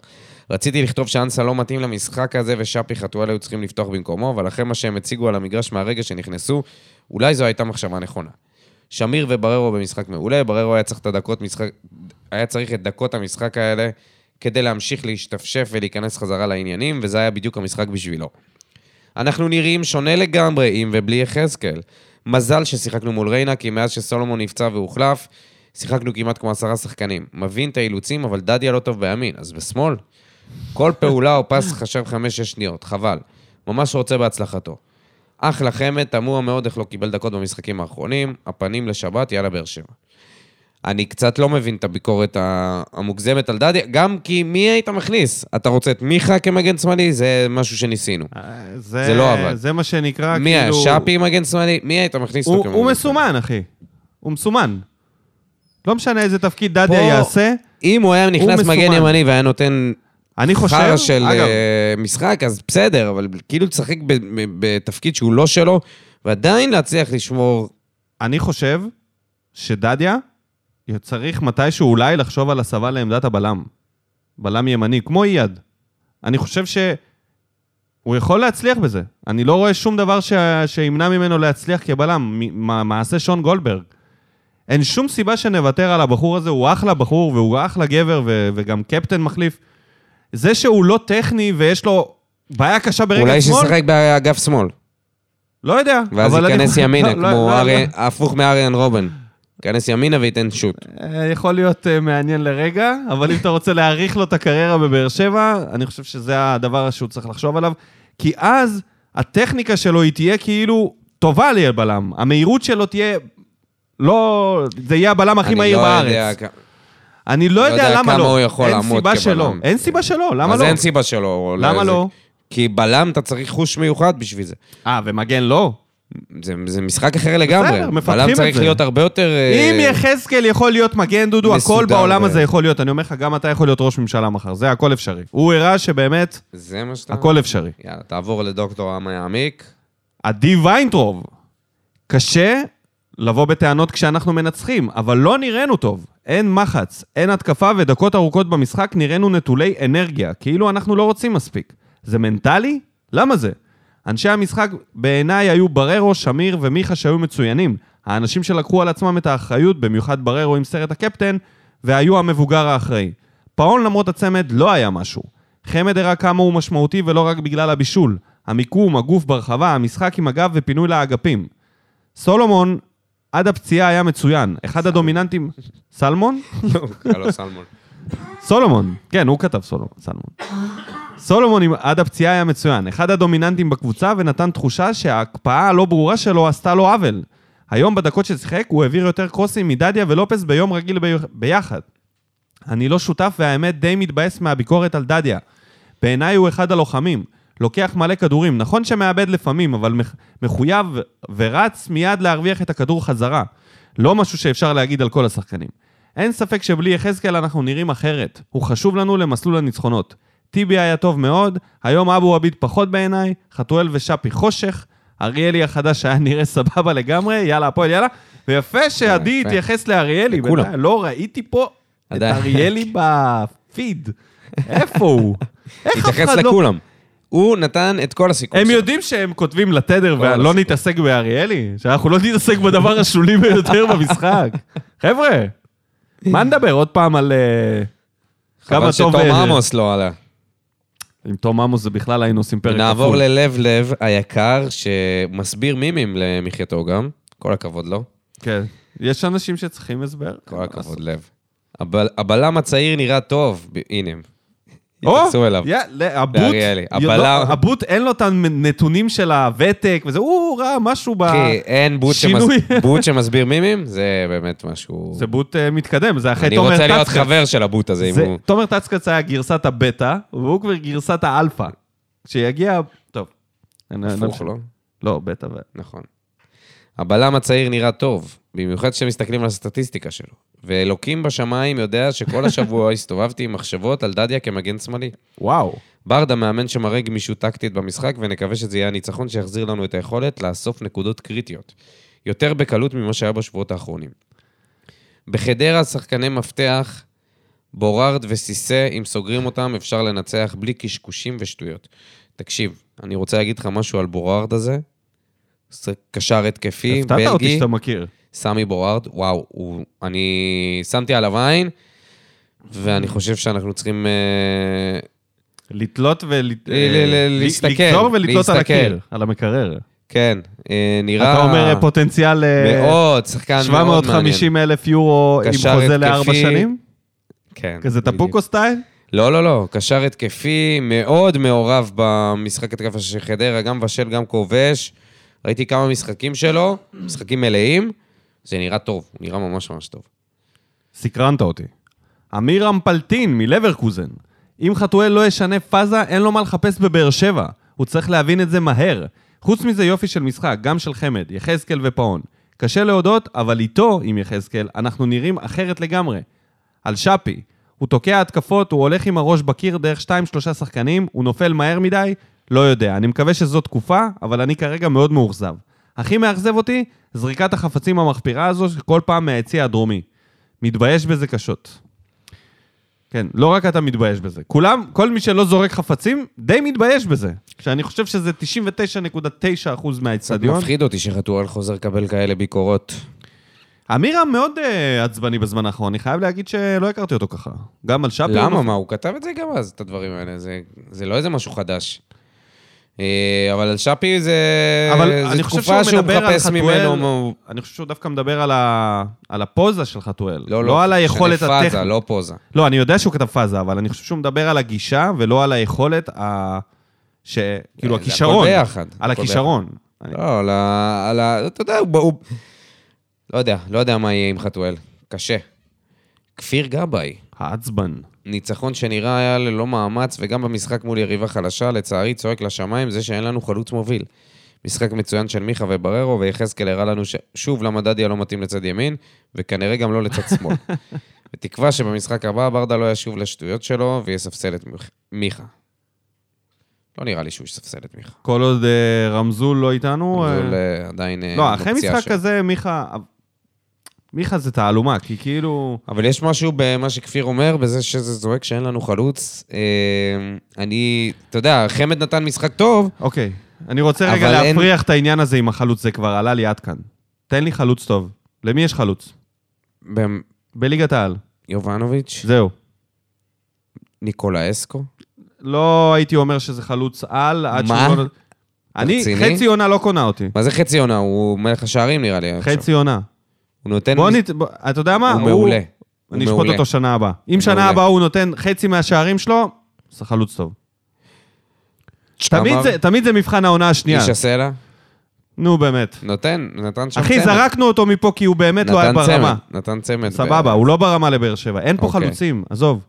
S2: רציתי לכתוב שאנסה לא מתאים למשחק הזה ושאפי חתואל היו צריכים לפתוח במקומו, אבל אחרי מה שהם הציגו על המגרש מהרגע שנכנסו, אולי זו הייתה מחשבה נכונה. שמיר ובררו במשחק מעולה, בררו היה צריך את הדקות משחק... היה צריך את דקות המשחק האלה כדי להמשיך להשתפשף ולהיכנס חזרה לעניינים, וזה היה בדיוק המשחק בשבילו. אנחנו נראים שונה לגמרי עם ובלי יחזקאל. מזל ששיחקנו מול ריינה, כי מאז שסולומון נפצע והוחלף, שיחקנו כמעט כמו עשרה שחקנים. מבין את האילוצים, אבל דדיה לא טוב בימין, אז בשמאל? כל פעולה או פס חשב חמש-שש שניות, חבל. ממש רוצה בהצלחתו. אחלה חמד, תמוה מאוד איך לא קיבל דקות במשחקים האחרונים, הפנים לשבת, יאללה באר שבע. אני קצת לא מבין את הביקורת ה- המוגזמת על דדיה, גם כי מי היית מכניס? אתה רוצה את מיכה כמגן שמאלי? זה משהו שניסינו.
S1: אה, זה,
S2: זה לא עבד.
S1: זה מה שנקרא,
S2: מי היה?
S1: כאילו...
S2: שפי מגן שמאלי? מי היית מכניס אותו
S1: הוא,
S2: כמגן
S1: הוא
S2: שמאלי?
S1: מסומן, אחי. הוא מסומן. לא משנה איזה תפקיד
S2: פה-
S1: דדיה יעשה,
S2: אם הוא היה נכנס
S1: מסומן.
S2: מגן ימני והיה נותן
S1: אני חושב...
S2: חרא של
S1: אגב,
S2: אה, משחק, אז בסדר, אבל כאילו לשחק ב- ב- בתפקיד שהוא לא שלו, ועדיין להצליח לשמור...
S1: אני חושב שדדיה צריך מתישהו אולי לחשוב על הסבה לעמדת הבלם. בלם ימני, כמו אייד. אני חושב שהוא יכול להצליח בזה. אני לא רואה שום דבר ש... שימנע ממנו להצליח כבלם. מ- מע- מעשה שון גולדברג. אין שום סיבה שנוותר על הבחור הזה, הוא אחלה בחור והוא אחלה גבר ו... וגם קפטן מחליף. זה שהוא לא טכני ויש לו בעיה קשה ברגע שמאל,
S2: אולי שישחק באגף שמאל,
S1: לא יודע.
S2: ואז
S1: אבל אני-
S2: ייכנס ימינה,
S1: לא, לא,
S2: כמו
S1: לא,
S2: אריה-
S1: לא.
S2: הפוך מאריאן רובן. ייכנס ימינה וייתן שוט.
S1: אה, יכול להיות אה, מעניין לרגע, אבל אם אתה רוצה להאריך לו את הקריירה בבאר שבע, אני חושב שזה הדבר שהוא צריך לחשוב עליו, כי אז הטכניקה שלו היא תהיה כאילו טובה ליד בלם. המהירות שלו תהיה... לא... זה יהיה הבלם הכי
S2: אני
S1: מהיר
S2: לא
S1: בארץ.
S2: יודע כ-
S1: אני לא יודע למה
S2: כמה
S1: לא.
S2: הוא יכול
S1: אין
S2: לעמוד
S1: סיבה
S2: כבלם.
S1: שלא. אין סיבה שלא, למה
S2: אז
S1: לא?
S2: אין סיבה שלא.
S1: למה
S2: זה-
S1: לא?
S2: כי בלם אתה צריך חוש מיוחד בשביל זה.
S1: אה, ומגן לא?
S2: זה, זה משחק אחר לגמרי.
S1: מפתחים
S2: בלם
S1: את
S2: צריך
S1: זה.
S2: להיות הרבה יותר... אה,
S1: אם יחזקאל יכול להיות מגן, דודו, הכל
S2: מסודר
S1: בעולם
S2: ו-
S1: הזה יכול להיות. אני אומר לך, גם אתה יכול להיות ראש ממשלה מחר, זה הכל אפשרי. הוא הראה שבאמת,
S2: זה מה שאתה...
S1: הכל אפשרי.
S2: יאללה, תעבור לדוקטור רם יעמיק.
S1: עדי ויינטרוב. קשה לבוא בטענות כשאנחנו מנצחים, אבל לא נראינו טוב. אין מחץ, אין התקפה ודקות ארוכות במשחק נראינו נטולי אנרגיה, כאילו אנחנו לא רוצים מספיק. זה מנטלי? למה זה? אנשי המשחק בעיניי היו בררו, שמיר ומיכה שהיו מצוינים. האנשים שלקחו על עצמם את האחריות, במיוחד בררו עם סרט הקפטן, והיו המבוגר האחראי. פאון למרות הצמד לא היה משהו. חמד הראה כמה הוא משמעותי ולא רק בגלל הבישול. המיקום, הגוף ברחבה, המשחק עם הגב ופינוי לאגפים. סולומון עד הפציעה היה מצוין. אחד הדומיננטים... סלמון?
S2: לא, לא, סלמון.
S1: סולומון. כן, הוא כתב סולומון. סלמון. סולומון עם- עד הפציעה היה מצוין, אחד הדומיננטים בקבוצה ונתן תחושה שההקפאה הלא ברורה שלו עשתה לו עוול. היום בדקות ששיחק הוא העביר יותר קרוסים מדדיה ולופס ביום רגיל בי... ביחד. אני לא שותף והאמת די מתבאס מהביקורת על דדיה. בעיניי הוא אחד הלוחמים. לוקח מלא כדורים, נכון שמאבד לפעמים, אבל מח- מחויב ו- ורץ מיד להרוויח את הכדור חזרה. לא משהו שאפשר להגיד על כל השחקנים. אין ספק שבלי יחזקאל אנחנו נראים אחרת. הוא חשוב לנו למסלול הניצחונות. טיבי היה טוב מאוד, היום אבו עביד פחות בעיניי, חתואל ושאפי חושך, אריאלי החדש היה נראה סבבה לגמרי, יאללה הפועל יאללה. ויפה שעדי
S2: יפה.
S1: התייחס לאריאלי,
S2: לכולם.
S1: בינתיים. לא ראיתי פה את
S2: עדיין.
S1: אריאלי בפיד. איפה הוא? איך אף
S2: התייחס
S1: אחד לא...
S2: לכולם. הוא נתן את כל הסיכום
S1: הם
S2: שלו.
S1: יודעים שהם כותבים לתדר
S2: כל
S1: ולא
S2: הסיפור.
S1: נתעסק באריאלי? שאנחנו לא נתעסק בדבר השולי ביותר במשחק? חבר'ה, מה נדבר? עוד פעם על... אה,
S2: חבל
S1: כמה טוב...
S2: שתום
S1: אה,
S2: עמוס לא עלה.
S1: עם תום עמוס זה בכלל היינו עושים פרק
S2: נעבור
S1: כפול.
S2: ללב לב היקר, שמסביר מימים למחייתו גם. כל הכבוד לו.
S1: כן. יש אנשים שצריכים הסבר.
S2: כל הכבוד לב. הבל- הבלם הצעיר נראה טוב. ב- הנה, הם.
S1: או,
S2: התייחסו אליו.
S1: יאללה, הבוט,
S2: לאריאלי.
S1: לא,
S2: הבלם-
S1: הבוט אין לו את הנתונים של הוותק, וזה, הוא ראה משהו ב...
S2: אחי, אין בוט שמס-
S1: שינוי.
S2: בוט שמסביר מימים? זה באמת משהו...
S1: זה בוט אה, מתקדם, זה אחרי
S2: אני
S1: תומר
S2: רוצה להיות
S1: טצקץ.
S2: חבר של הבוט הזה, אם
S1: זה-
S2: הוא...
S1: תומר טצקץ היה גרסת הבטא, והוא כבר גרסת האלפא. כשיגיע... טוב. אני- אני
S2: הפוך,
S1: משנה.
S2: לא?
S1: לא, בטא. ו-
S2: נכון. הבלם הצעיר נראה טוב, במיוחד כשמסתכלים על הסטטיסטיקה שלו. ואלוקים בשמיים יודע שכל השבוע הסתובבתי עם מחשבות על דדיה כמגן שמאלי.
S1: וואו.
S2: ברדה מאמן שמראה גמישות טקטית במשחק, ונקווה שזה יהיה הניצחון שיחזיר לנו את היכולת לאסוף נקודות קריטיות. יותר בקלות ממה שהיה בשבועות האחרונים. בחדרה שחקני מפתח, בורארד וסיסה, אם סוגרים אותם אפשר לנצח בלי קשקושים ושטויות. תקשיב, אני רוצה להגיד לך משהו על בורארד הזה. ש- קשר התקפי,
S1: הפתעת אותי
S2: בלגי,
S1: שאתה מכיר.
S2: סמי בורארד, וואו, הוא, אני שמתי עליו עין, ואני חושב שאנחנו צריכים... אה,
S1: לתלות ולהסתכל.
S2: ל- ל- להסתכל,
S1: לגזור ולתלות על
S2: להסתכל.
S1: הקיר, על המקרר.
S2: כן, אה, נראה...
S1: אתה אומר אה, פוטנציאל אה,
S2: מאוד, שחקן מאוד מעניין.
S1: 750 אלף יורו עם
S2: קשר
S1: חוזה לארבע
S2: התקפי.
S1: שנים?
S2: כן.
S1: כזה
S2: בדיוק.
S1: טפוקו סטייל?
S2: לא, לא, לא, קשר התקפי, מאוד מעורב במשחק התקפה של חדרה, גם בשל, גם כובש. ראיתי כמה משחקים שלו, משחקים מלאים. זה נראה טוב, הוא נראה ממש ממש טוב.
S1: סקרנת אותי. אמירם פלטין מלברקוזן. אם חתואל לא ישנה פאזה, אין לו מה לחפש בבאר שבע. הוא צריך להבין את זה מהר. חוץ מזה יופי של משחק, גם של חמד, יחזקאל ופאון. קשה להודות, אבל איתו, עם יחזקאל, אנחנו נראים אחרת לגמרי. על שפי, הוא תוקע התקפות, הוא הולך עם הראש בקיר דרך 2-3 שחקנים, הוא נופל מהר מדי, לא יודע. אני מקווה שזו תקופה, אבל אני כרגע מאוד מאוכזב. הכי מאכזב אותי, זריקת החפצים המחפירה הזו, שכל פעם מהיציע הדרומי. מתבייש בזה קשות. כן, לא רק אתה מתבייש בזה. כולם, כל מי שלא זורק חפצים, די מתבייש בזה. שאני חושב שזה 99.9%
S2: קצת
S1: מהאצטדיון.
S2: מפחיד אותי שחתואל חוזר לקבל כאלה ביקורות.
S1: אמירם מאוד אה, עצבני בזמן האחרון, אני חייב להגיד שלא הכרתי אותו ככה. גם על שפי... הוא
S2: למה?
S1: לא-
S2: מה, הוא כתב את זה גם אז, את הדברים האלה. זה- זה לא איזה משהו חדש. אה, אבל על שפי זה...
S1: אבל
S2: זה
S1: אני חושב
S2: תקופה
S1: אה, שהוא
S2: שהוא
S1: מדבר על
S2: מחפש ממנו
S1: חתואל, אני חושב שהוא דווקא מדבר על ה- על הפוזה של חתואל.
S2: לא, לא.
S1: לא על היכולת
S2: משנה
S1: הטכנית.
S2: פאזה, לא פוזה.
S1: לא, אני יודע שהוא כתב פאזה, אבל אני חושב שהוא מדבר על הגישה ולא על היכולת ה... ש... כאילו,
S2: אה, זה הכל
S1: הכישרון.
S2: ביחד,
S1: על
S2: הכל
S1: הכישרון. אני-
S2: לא, על ה... על ה... אתה יודע, הוא... הוא... לא יודע, לא יודע מה יהיה עם חתואל. קשה. כפיר גבאי,
S1: העצבן.
S2: ניצחון שנראה היה ללא מאמץ, וגם במשחק מול יריבה חלשה, לצערי צועק לשמיים זה שאין לנו חלוץ מוביל. משחק מצוין של מיכה ובררו, ויחזקאל הראה לנו ש... שוב למה דדיה לא מתאים לצד ימין, וכנראה גם לא לצד שמאל. בתקווה שבמשחק הבא ברדה לא ישוב לשטויות שלו ויספסל את מיכ- מיכה. לא נראה לי שהוא יספסל את מיכה.
S1: כל עוד אה, רמזול לא איתנו... אה,
S2: אבל אה, עדיין... אה,
S1: לא, אחרי
S2: בפציעה
S1: משחק
S2: שלו.
S1: כזה, מיכה... מיכה זה תעלומה, כי כאילו...
S2: אבל יש משהו במה שכפיר אומר, בזה שזה זועק שאין לנו חלוץ. אה, אני, אתה יודע, חמד נתן משחק טוב,
S1: אוקיי, אני רוצה רגע
S2: אבל אין-
S1: להפריח את העניין הזה עם החלוץ, זה כבר עלה לי עד כאן. תן לי חלוץ טוב. למי יש חלוץ?
S2: במ-
S1: בליגת העל.
S2: יובנוביץ',
S1: זהו.
S2: ניקולה אסקו.
S1: לא הייתי אומר שזה חלוץ על, עד
S2: מה?
S1: שהוא לא... אני,
S2: רציני?
S1: חצי עונה לא קונה אותי.
S2: מה זה חצי עונה? הוא מלך השערים נראה לי. עכשיו.
S1: חצי עונה.
S2: הוא נותן...
S1: בוא
S2: מס-
S1: נת... בוא- אתה יודע מה?
S2: הוא מעולה. הוא
S1: אני אשפוט
S2: מעולה.
S1: אותו שנה הבאה. אם שנה
S2: מעולה.
S1: הבאה הוא נותן חצי מהשערים שלו, זה חלוץ טוב. תמיד
S2: אמר-
S1: זה- תמיד זה מבחן העונה השנייה.
S2: איש הסלע,
S1: נו, באמת.
S2: נותן, נתן שם
S1: אחי, זרקנו אותו מפה כי הוא באמת לא היה
S2: נתן
S1: ברמה.
S2: צמד, נתן צמד.
S1: סבבה, הוא לא ברמה לבאר שבע. אין פה
S2: כן, אוקיי.
S1: חלוצים, עזוב.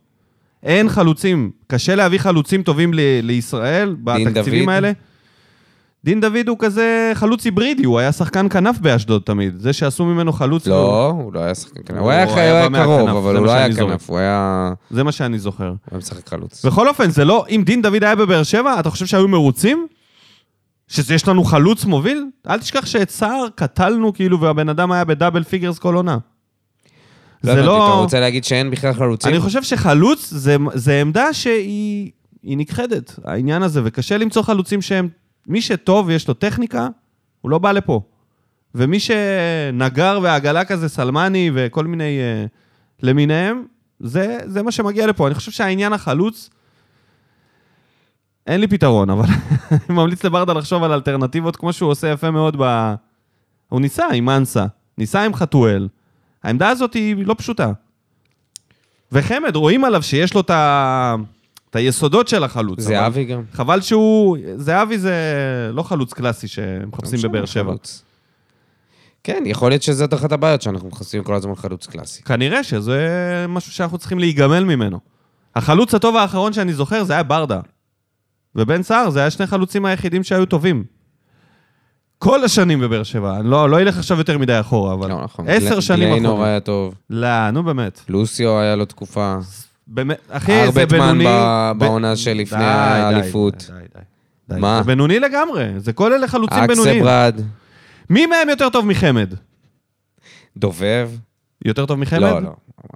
S1: אין חלוצים. קשה להביא חלוצים טובים ל- לישראל בתקציבים
S2: דוד.
S1: האלה. דין דוד הוא כזה חלוץ היברידי, הוא היה שחקן כנף באשדוד תמיד. זה שעשו ממנו חלוץ, והוא-
S2: לא, הוא לא היה שחקן כנף.
S1: הוא
S2: הוא היה
S1: היה
S2: הוא היה
S1: במאה
S2: קרוב,
S1: כנף,
S2: אבל
S1: זה
S2: הוא
S1: מה
S2: לא היה
S1: שאני זורק.
S2: כנף, הוא היה הוא
S1: זה מה שאני זוכר.
S2: היה משחק חלוץ.
S1: בכל אופן, זה לא... אם דין דוד היה בבאר שבע, אתה חושב שהיו מרוצים? שיש לנו חלוץ מוביל? אל תשכח שאת סער קטלנו כאילו, והבן אדם היה בדאבל פיגרס כל עונה. זה
S2: לא הבנתי,
S1: לא...
S2: אתה רוצה להגיד שאין בכלל חלוצים?
S1: אני חושב שחלוץ זה, זה עמדה שהיא היא נכחדת, העניין הזה, וקשה למצוא חלוצים שהם... מי שטוב ויש לו טכניקה, הוא לא בא לפה. ומי שנגר ועגלה כזה, סלמני וכל מיני אה, למיניהם, זה, זה מה שמגיע לפה. אני חושב שהעניין החלוץ, אין לי פתרון, אבל אני ממליץ לברדה לחשוב על אלטרנטיבות, כמו שהוא עושה יפה מאוד ב... הוא ניסה עם אנסה, ניסה עם חתואל. העמדה הזאת היא לא פשוטה. וחמד, רואים עליו שיש לו את ה... את היסודות של החלוץ. אבל-
S2: זהבי גם.
S1: חבל שהוא... זהבי זה לא חלוץ קלאסי שמחפשים
S2: לא משנה,
S1: בבאר שבע.
S2: חלוץ. כן, יכול להיות שזאת אחת הבעיות שאנחנו מכסים כל הזמן חלוץ קלאסי.
S1: כנראה שזה משהו שאנחנו צריכים להיגמל ממנו. החלוץ הטוב האחרון שאני זוכר זה היה ברדה. ובן סער, זה היה שני חלוצים היחידים שהיו טובים. כל השנים בבאר שבע, אני לא, לא אלך עכשיו יותר מדי אחורה, אבל...
S2: לא, נכון.
S1: עשר
S2: גל-
S1: שנים
S2: גליינור
S1: אחורה.
S2: היה טוב,
S1: לא, נו באמת.
S2: לוסיו היה לו תקופה.
S1: באמת, אחי, זה
S2: ארבטמן
S1: בינוני...
S2: ב-
S1: ב-
S2: בעונה שלפני
S1: די, די,
S2: האליפות.
S1: די, די, די.
S2: מה?
S1: זה בינוני לגמרי, זה כל אלה חלוצים בינוניים.
S2: אקסברד,
S1: מי מהם יותר טוב מחמד?
S2: דובב.
S1: יותר טוב מחמד?
S2: לא, לא.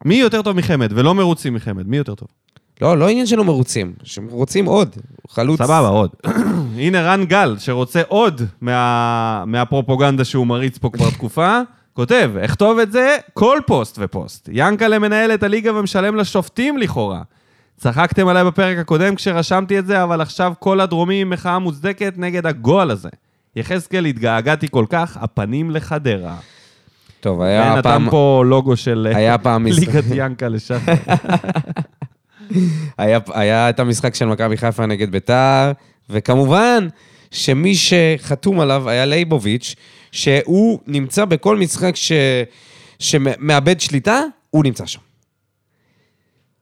S1: מי יותר טוב מחמד ולא מרוצים מחמד? מי יותר טוב?
S2: לא, לא עניין שלא מרוצים, שמרוצים עוד. הוא חלוץ.
S1: סבבה, עוד. הנה רן גל, שרוצה עוד מה... מהפרופוגנדה שהוא מריץ פה כבר תקופה, כותב, אכתוב את זה כל פוסט ופוסט. ינקלה מנהל את הליגה ומשלם לשופטים לכאורה. צחקתם עליי בפרק הקודם כשרשמתי את זה, אבל עכשיו כל הדרומי עם מחאה מוצדקת נגד הגועל הזה. יחזקאל, התגעגעתי כל כך, הפנים לחדרה.
S2: טוב, היה
S1: היה
S2: פעם-
S1: נתן פה לוגו של
S2: היה פעם משחק-
S1: ליגת ינקלה שם.
S2: היה- היה את המשחק של מכבי חיפה נגד ביתר, וכמובן שמי שחתום עליו היה לייבוביץ', שהוא נמצא בכל משחק ש... שמאבד שליטה, הוא נמצא שם.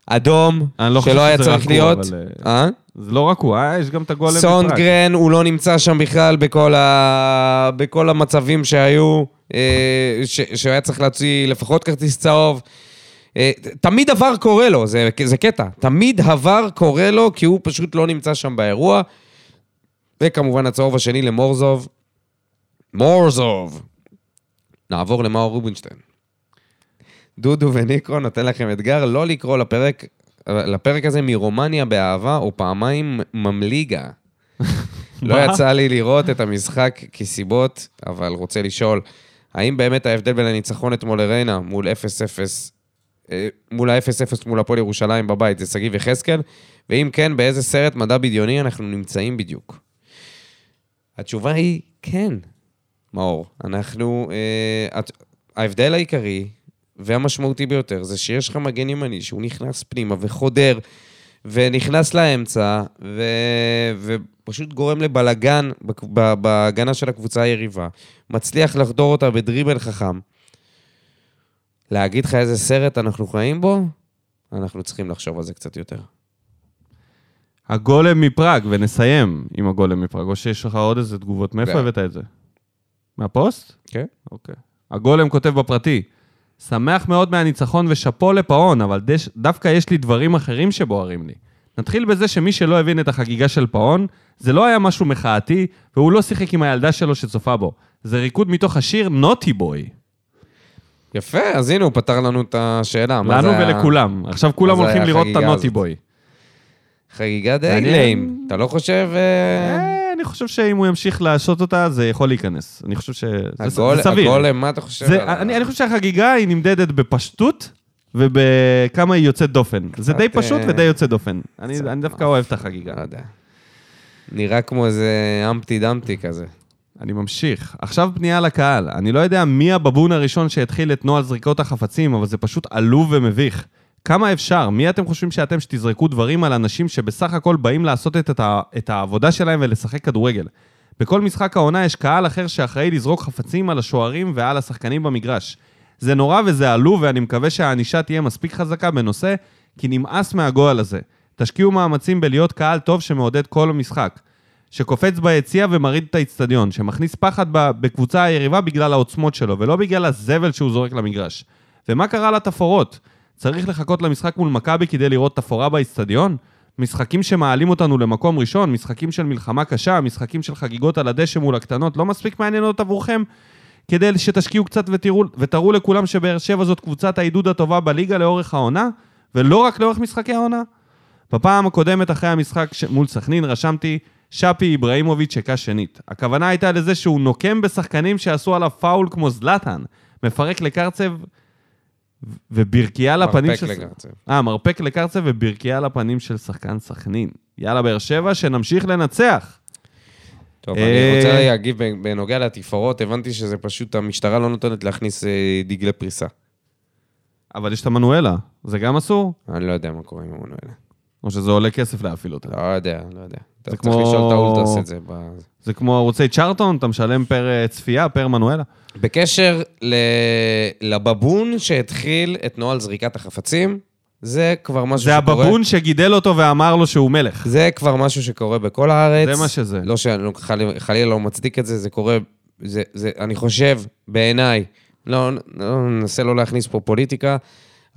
S2: אדום,
S1: אני לא חושב
S2: שלא היה
S1: שזה רק
S2: צריך
S1: הוא,
S2: להיות.
S1: אבל,
S2: אה?
S1: זה לא רק הוא, אה? יש גם את הגולם.
S2: סונדגרן, הוא לא נמצא שם בכלל בכל, ה... בכל המצבים שהיו, אה, ש... שהיה צריך להוציא לפחות כרטיס צהוב. אה, ת- תמיד עבר קורה לו, זה, זה קטע. תמיד עבר קורה לו, כי הוא פשוט לא נמצא שם באירוע. וכמובן הצהוב השני למורזוב. מורזוב. נעבור למאור רובינשטיין. דודו וניקו נותן לכם אתגר לא לקרוא לפרק, לפרק הזה מרומניה באהבה או פעמיים ממליגה. לא
S1: מה?
S2: יצא לי לראות את המשחק כסיבות, אבל רוצה לשאול, האם באמת ההבדל בין הניצחון אתמול לריינה מול 0-0, אה, מול ה-0-0 מול הפועל ירושלים בבית, זה שגיב יחזקאל? ואם כן, באיזה סרט מדע בדיוני אנחנו נמצאים בדיוק? התשובה היא כן, מאור. אנחנו... אה, הת- ההבדל העיקרי והמשמעותי ביותר זה שיש לך מגן ימני שהוא נכנס פנימה וחודר ונכנס לאמצע ו... ופשוט גורם לבלגן בק- ב- בהגנה של הקבוצה היריבה. מצליח לחדור אותה בדריבל חכם. להגיד לך איזה סרט אנחנו חיים בו? אנחנו צריכים לחשוב על זה קצת יותר.
S1: הגולם מפראג, ונסיים עם הגולם מפראג, או שיש לך עוד איזה תגובות. מאיפה
S2: לא.
S1: הבאת את זה? מהפוסט?
S2: כן.
S1: אוקיי. הגולם כותב בפרטי, שמח מאוד מהניצחון ושאפו לפאון, אבל דש, דווקא יש לי דברים אחרים שבוערים לי. נתחיל בזה שמי שלא הבין את החגיגה של פאון, זה לא היה משהו מחאתי, והוא לא שיחק עם הילדה שלו שצופה בו. זה ריקוד מתוך השיר נוטי בוי.
S2: יפה, אז הנה הוא פתר לנו את השאלה. מה
S1: לנו
S2: זה ה-
S1: ולכולם. עכשיו כולם
S2: מה זה
S1: הולכים לראות את
S2: החגיגה
S1: הנוטי
S2: הזאת?
S1: בוי.
S2: חגיגה די
S1: מעניין.
S2: ליים. אתה לא חושב... אה,
S1: אה, אני חושב שאם הוא ימשיך לעשות אותה, זה יכול להיכנס. אני חושב שזה
S2: הגול-
S1: אה, זה סביר.
S2: הגולם, מה אתה חושב? על
S1: זה,
S2: ה-
S1: אני, אני חושב שהחגיגה היא נמדדת בפשטות ובכמה היא יוצאת דופן. זה די
S2: קצת,
S1: פשוט
S2: אה,
S1: ודי יוצא דופן. אני,
S2: קצת,
S1: אני דווקא
S2: אה,
S1: אוהב את החגיגה.
S2: לא יודע. נראה כמו איזה אמפטי דמפטי כזה.
S1: אני ממשיך. עכשיו פנייה לקהל. אני לא יודע מי הבבון הראשון שהתחיל את נוהל זריקות החפצים, אבל זה פשוט עלוב ומביך. כמה אפשר? מי אתם חושבים שאתם שתזרקו דברים על אנשים שבסך הכל באים לעשות את, ה- את העבודה שלהם ולשחק כדורגל? בכל משחק העונה יש קהל אחר שאחראי לזרוק חפצים על השוערים ועל השחקנים במגרש. זה נורא וזה עלוב, ואני מקווה שהענישה תהיה מספיק חזקה בנושא, כי נמאס מהגועל הזה. תשקיעו מאמצים בלהיות קהל טוב שמעודד כל משחק. שקופץ ביציע ומרעיד את האיצטדיון, שמכניס פחד ב- בקבוצה היריבה בגלל העוצמות שלו, ולא בגלל הזבל שהוא זורק למגרש. ומה קרה לתפאורות? צריך לחכות למשחק מול מכבי כדי לראות תפאורה באיצטדיון? משחקים שמעלים אותנו למקום ראשון, משחקים של מלחמה קשה, משחקים של חגיגות על הדשא מול הקטנות, לא מספיק מעניינות עבורכם? כדי שתשקיעו קצת ותראו, ותראו לכולם שבאר שבע זאת קבוצת העידוד הטובה בליגה לאורך העונה, ולא רק לאורך משחקי העונה? בפעם הקודמת אחרי המשחק ש... מול סכנין רשמתי שפי אברהימוביץ' הכה שנית. הכוונה הייתה לזה שהוא נוקם בשחקנים שעשו עליו פאול כמו זלאטן, מפרק לקרצב ו- וברקייה לפנים
S2: מרפק
S1: של...
S2: לקרצב.
S1: אה, מרפק לקרצב וברקייה לפנים של שחקן סכנין. יאללה, באר שבע, שנמשיך לנצח.
S2: טוב,
S1: אה,
S2: אני רוצה להגיב בנוגע לתפאורות, הבנתי שזה פשוט, המשטרה לא נותנת להכניס אה, דגלי פריסה.
S1: אבל יש את המנואלה, זה גם אסור?
S2: אני לא יודע מה קורה עם המנואלה.
S1: או שזה עולה כסף להפעיל אותה?
S2: לא יודע, לא יודע. אתה צריך
S1: כמו-
S2: לשאול את האולטרס את זה. ב-
S1: זה כמו ערוצי צ'רטון, אתה משלם פר אה, צפייה, פר מנואלה.
S2: בקשר ל... לבבון שהתחיל את נוהל זריקת החפצים, זה כבר משהו
S1: זה
S2: שקורה...
S1: הבבון שגידל אותו ואמר לו שהוא מלך.
S2: זה כבר משהו שקורה בכל הארץ.
S1: זה מה שזה.
S2: לא שאני חל- חלילה לא מצדיק את זה, זה קורה, זה, זה, אני חושב, בעיניי, לא, לא ננסה לא להכניס פה פוליטיקה,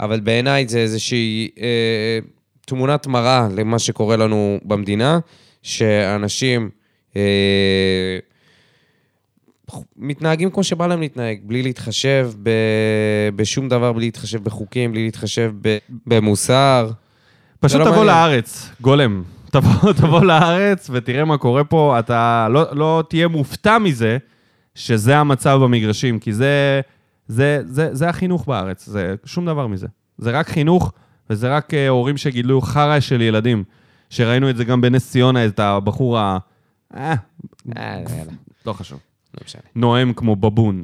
S2: אבל בעיניי זה איזושהי אה, תמונת מראה למה שקורה לנו במדינה, שאנשים אה, מתנהגים כמו שבא להם להתנהג, בלי להתחשב ב, בשום דבר, בלי להתחשב בחוקים, בלי להתחשב ב, במוסר.
S1: פשוט
S2: לא
S1: תבוא
S2: מעניין.
S1: לארץ, גולם. תבוא, תבוא לארץ ותראה מה קורה פה, אתה לא, לא תהיה מופתע מזה שזה המצב במגרשים, כי זה, זה, זה, זה החינוך בארץ, זה שום דבר מזה. זה רק חינוך, וזה רק אה, הורים שגידלו חרא של ילדים, שראינו את זה גם בנס ציונה, את הבחור ה... אה,
S2: אה, יאללה,
S1: לא חשוב.
S2: לא משנה.
S1: נואם כמו בבון.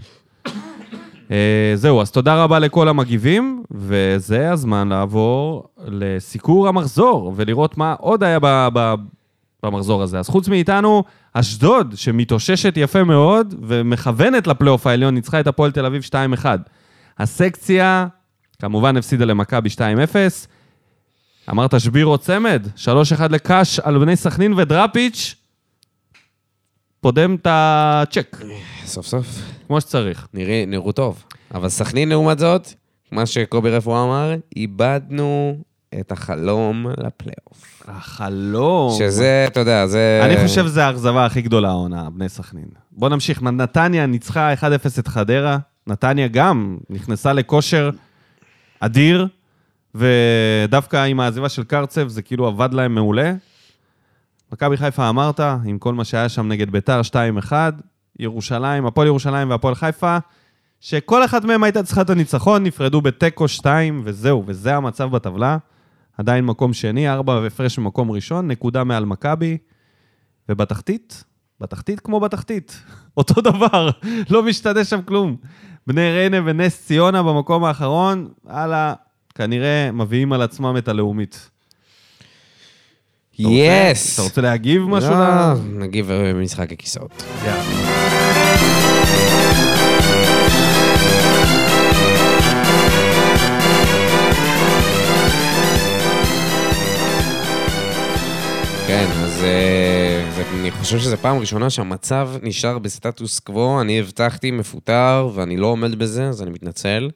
S1: אה, זהו, אז תודה רבה לכל המגיבים, וזה הזמן לעבור לסיקור המחזור, ולראות מה עוד היה ב- ב- במחזור הזה. אז חוץ מאיתנו, אשדוד, שמתאוששת יפה מאוד, ומכוונת לפלייאוף העליון, ניצחה את הפועל תל אביב 2-1. הסקציה, כמובן, הפסידה למכבי 2-0. אמרת שבירו צמד, 3-1 לקאש על בני סכנין ודראפיץ', פודם את הצ'ק.
S2: סוף סוף.
S1: כמו שצריך.
S2: נראה, נראו טוב. אבל סכנין, לעומת זאת, מה שקובי רפואה אמר, איבדנו את החלום לפלייאוף.
S1: החלום.
S2: שזה, אתה יודע, זה...
S1: אני חושב שזו האכזבה הכי גדולה העונה, בני סכנין. בוא נמשיך. נתניה ניצחה 1-0 את חדרה. נתניה גם נכנסה לכושר אדיר, ודווקא עם העזיבה של קרצב זה כאילו עבד להם מעולה. מכבי חיפה אמרת, עם כל מה שהיה שם נגד ביתר 2-1, ירושלים, הפועל ירושלים והפועל חיפה, שכל אחת מהם הייתה צריכה את הניצחון, נפרדו בתיקו 2, וזהו, וזה המצב בטבלה. עדיין מקום שני, ארבע והפרש ממקום ראשון, נקודה מעל מכבי, ובתחתית, בתחתית כמו בתחתית, אותו דבר, לא משתנה שם כלום. בני ריינה ונס ציונה במקום האחרון, הלאה, כנראה מביאים על עצמם את הלאומית. אתה רוצה-
S2: יס!
S1: אתה רוצה להגיב משהו?
S2: לא,
S1: ל-
S2: נגיב אה, במשחק הכיסאות.
S1: יאללה.
S2: כן, אז אה, זה- אני חושב שזו פעם ראשונה שהמצב נשאר בסטטוס קוו. אני הבטחתי מפוטר, ואני לא עומד בזה, אז אני מתנצל.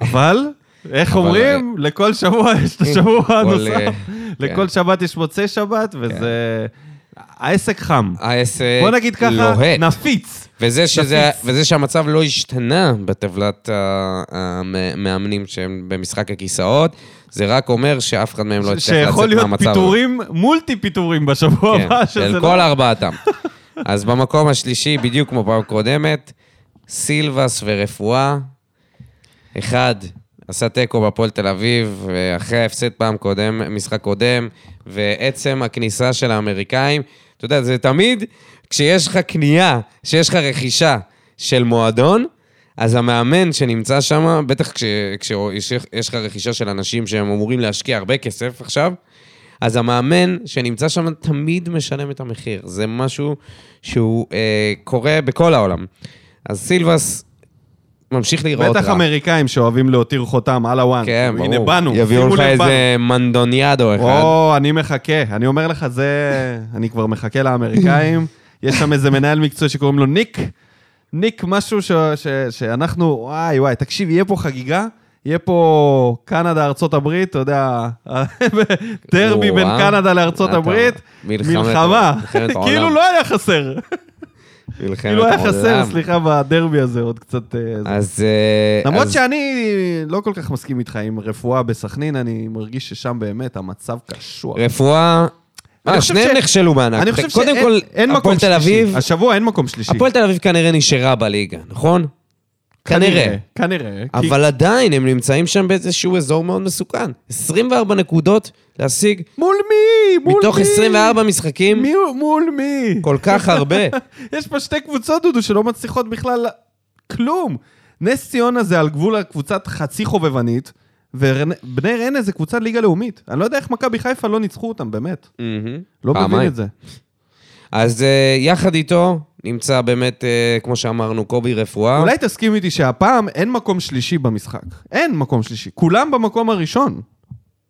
S1: אבל, איך
S2: אבל- אה,
S1: אומרים? לכל שבוע יש את השבוע
S2: כל, אה,
S1: הנוסף.
S2: כן.
S1: לכל שבת יש מוצאי שבת, וזה... העסק חם.
S2: העסק
S1: בוא נגיד ככה,
S2: אה, לוהט.
S1: נפיץ.
S2: וזה, שזה,
S1: נפיץ.
S2: וזה שהמצב לא השתנה בטבלת ה- המאמנים שהם במשחק הכיסאות, זה רק אומר שאף אחד מהם לא
S1: ש-
S2: הצליח לצאת מהמצב.
S1: שיכול להיות
S2: הזה.
S1: פיטורים, מולטי פיטורים בשבוע
S2: כן,
S1: הבא, שזה
S2: של
S1: לא...
S2: כל ארבעתם. אז במקום השלישי, בדיוק כמו פעם קודמת, סילבס ורפואה. אחד, עשה תיקו בהפועל תל אביב, אחרי ההפסד פעם קודם, משחק קודם, ועצם הכניסה של האמריקאים, אתה יודע, זה תמיד כשיש לך קנייה, כשיש לך רכישה של מועדון, אז המאמן שנמצא שם, בטח כש- כשיש יש לך רכישה של אנשים שהם אמורים להשקיע הרבה כסף עכשיו, אז המאמן שנמצא שם תמיד משלם את המחיר. זה משהו שהוא אה, קורה בכל העולם. אז סילבס ממשיך להיראות רע.
S1: בטח אמריקאים שאוהבים להותיר חותם על הוואן.
S2: כן, ברור.
S1: הנה באנו,
S2: יביאו
S1: שימו
S2: לך
S1: לב,
S2: איזה מנדוניאדו
S1: באנו.
S2: אחד.
S1: או, אני מחכה, אני אומר לך, זה... אני כבר מחכה לאמריקאים. יש שם איזה מנהל מקצועי שקוראים לו ניק. ניק משהו ש... ש... שאנחנו, וואי וואי, תקשיב, יהיה פה חגיגה. יהיה פה קנדה, ארצות הברית, אתה יודע, דרבי בין
S2: וואו.
S1: קנדה לארצות
S2: אתה-
S1: הברית,
S2: מלחמת-
S1: מלחמה.
S2: מלחמת כן,
S1: כאילו
S2: עולם.
S1: לא היה חסר.
S2: מלחמת
S1: כאילו היה חסר,
S2: העולם.
S1: סליחה, בדרבי הזה עוד קצת... אה, זה.
S2: אז... אה,
S1: למרות
S2: אז-
S1: שאני לא כל כך מסכים איתך עם רפואה בסכנין, אני מרגיש ששם באמת המצב קשוח.
S2: רפואה...
S1: אני
S2: אה,
S1: חושב
S2: שניהם
S1: ש-
S2: נכשלו בענק.
S1: אני חושב
S2: קודם
S1: שאין-
S2: כל,
S1: אין מקום
S2: הפועל תל
S1: שלישי.
S2: אביב...
S1: השבוע אין מקום שלישי.
S2: הפועל תל אביב כנראה נשארה בליגה, נכון? כנראה.
S1: כנראה. כי-
S2: אבל עדיין הם נמצאים שם באיזשהו אזור מאוד מסוכן. 24 נקודות להשיג
S1: מול מי? מול מי?
S2: מתוך 24 משחקים,
S1: מי הוא- מול מי?
S2: כל כך הרבה.
S1: יש פה שתי קבוצות, דודו, שלא מצליחות בכלל כלום. נס ציונה זה על גבול הקבוצת חצי חובבנית, ובני ריינה זה קבוצת ליגה לאומית. אני לא יודע איך מכבי חיפה לא ניצחו אותם, באמת.
S2: מהמם.
S1: לא מבין
S2: פעמיים.
S1: את זה.
S2: אז אה, יחד איתו נמצא באמת, אה, כמו שאמרנו, קובי רפואה.
S1: אולי תסכים איתי שהפעם אין מקום שלישי במשחק. אין מקום שלישי. כולם במקום הראשון.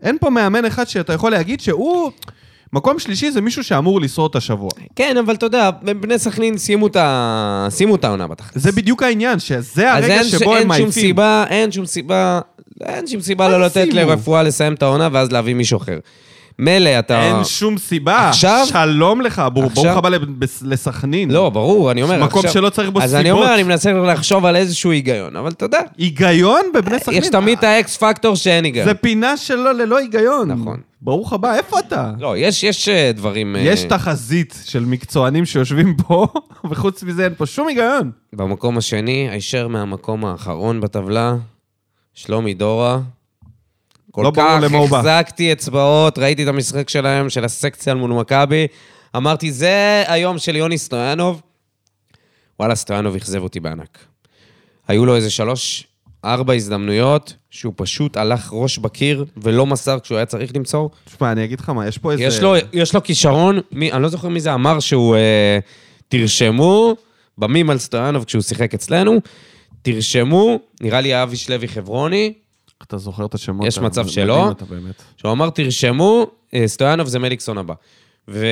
S1: אין פה מאמן אחד שאתה יכול להגיד שהוא... מקום שלישי זה מישהו שאמור לשרוד את השבוע.
S2: כן, אבל אתה יודע, בני סכנין סיימו את ה- סיימו את העונה בתכלס.
S1: זה בדיוק העניין, שזה
S2: אז
S1: הרגע
S2: אין,
S1: שבו הם
S2: אין שום
S1: מעיפים.
S2: סיבה, אין שום סיבה, אין שום סיבה
S1: מה
S2: לא
S1: זה
S2: לתת
S1: סיימו?
S2: לרפואה לסיים את העונה ואז להביא מישהו אחר. מילא אתה...
S1: אין שום סיבה.
S2: עכשיו-
S1: שלום לך, בור-
S2: עכשיו-
S1: ברוך הבא לב- בס- לסכנין.
S2: לא, ברור, אני אומר
S1: מקום
S2: עכשיו...
S1: שלא צריך בו
S2: אז
S1: סיבות.
S2: אני אומר, אני מנסה לחשוב על איזשהו היגיון, אבל אתה יודע,
S1: היגיון בבני סכנין.
S2: יש תמיד את האקס פקטור שאין
S1: זה
S2: היגיון.
S1: פינה שלו ללא היגיון.
S2: נכון.
S1: ברוך הבא, איפה אתה?
S2: לא, יש- יש אה, דברים... אה,
S1: יש תחזית של מקצוענים שיושבים פה, וחוץ מזה אין פה שום היגיון.
S2: במקום השני, הישר מהמקום האחרון בטבלה, שלומי דורה. כל
S1: לא ברור
S2: כך
S1: למה הוא בא.
S2: החזקתי אצבעות, ראיתי את המשחק שלהם, של הסקציה מול מכבי. אמרתי, זה היום של יוני סטויאנוב. וואלה, סטויאנוב אכזב אותי בענק. היו לו איזה שלוש, ארבע הזדמנויות, שהוא פשוט הלך ראש בקיר ולא מסר כשהוא היה צריך למסור.
S1: תשמע, אני אגיד לך מה, יש פה איזה...
S2: יש לו, יש לו כישרון, מי, אני לא זוכר מי זה אמר שהוא, אה, תרשמו, במים על סטויאנוב כשהוא שיחק אצלנו, תרשמו, נראה לי אבי שלוי חברוני,
S1: אתה זוכר את השמות?
S2: יש
S1: אתה
S2: מצב
S1: מדהים
S2: שלא.
S1: אותה באמת.
S2: שהוא אמר, תרשמו, אה, סטויאנוב זה מליקסון הבא. ו...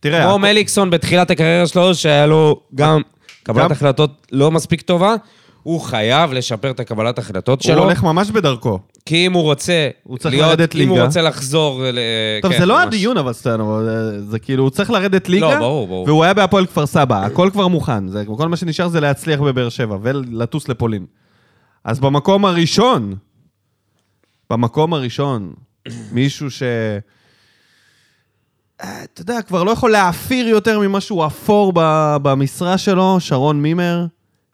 S1: תראה,
S2: כמו
S1: הכל-
S2: מליקסון בתחילת הקריירה שלו, שהיה לו גם קבלת
S1: גם-
S2: החלטות לא מספיק טובה, הוא חייב לשפר את הקבלת החלטות
S1: הוא
S2: שלו,
S1: הולך ממש בדרכו.
S2: כי אם הוא רוצה
S1: הוא צריך
S2: להיות-
S1: לרדת
S2: אם הוא
S1: ליגה.
S2: רוצה לחזור... ל-
S1: טוב,
S2: כן,
S1: זה לא
S2: ממש.
S1: הדיון, אבל סטנו, זה- זה כאילו, הוא צריך לרדת ליגה.
S2: לא, ברור, ברור.
S1: והוא היה בהפועל כפר סבא, הכל כבר מוכן. זה- כל מה שנשאר זה להצליח בבאר שבע ולטוס לפולין. אז במקום הראשון, במקום הראשון, מישהו ש... אה, אתה יודע, כבר לא יכול להעפיר יותר ממה שהוא אפור ב- במשרה שלו, שרון מימר.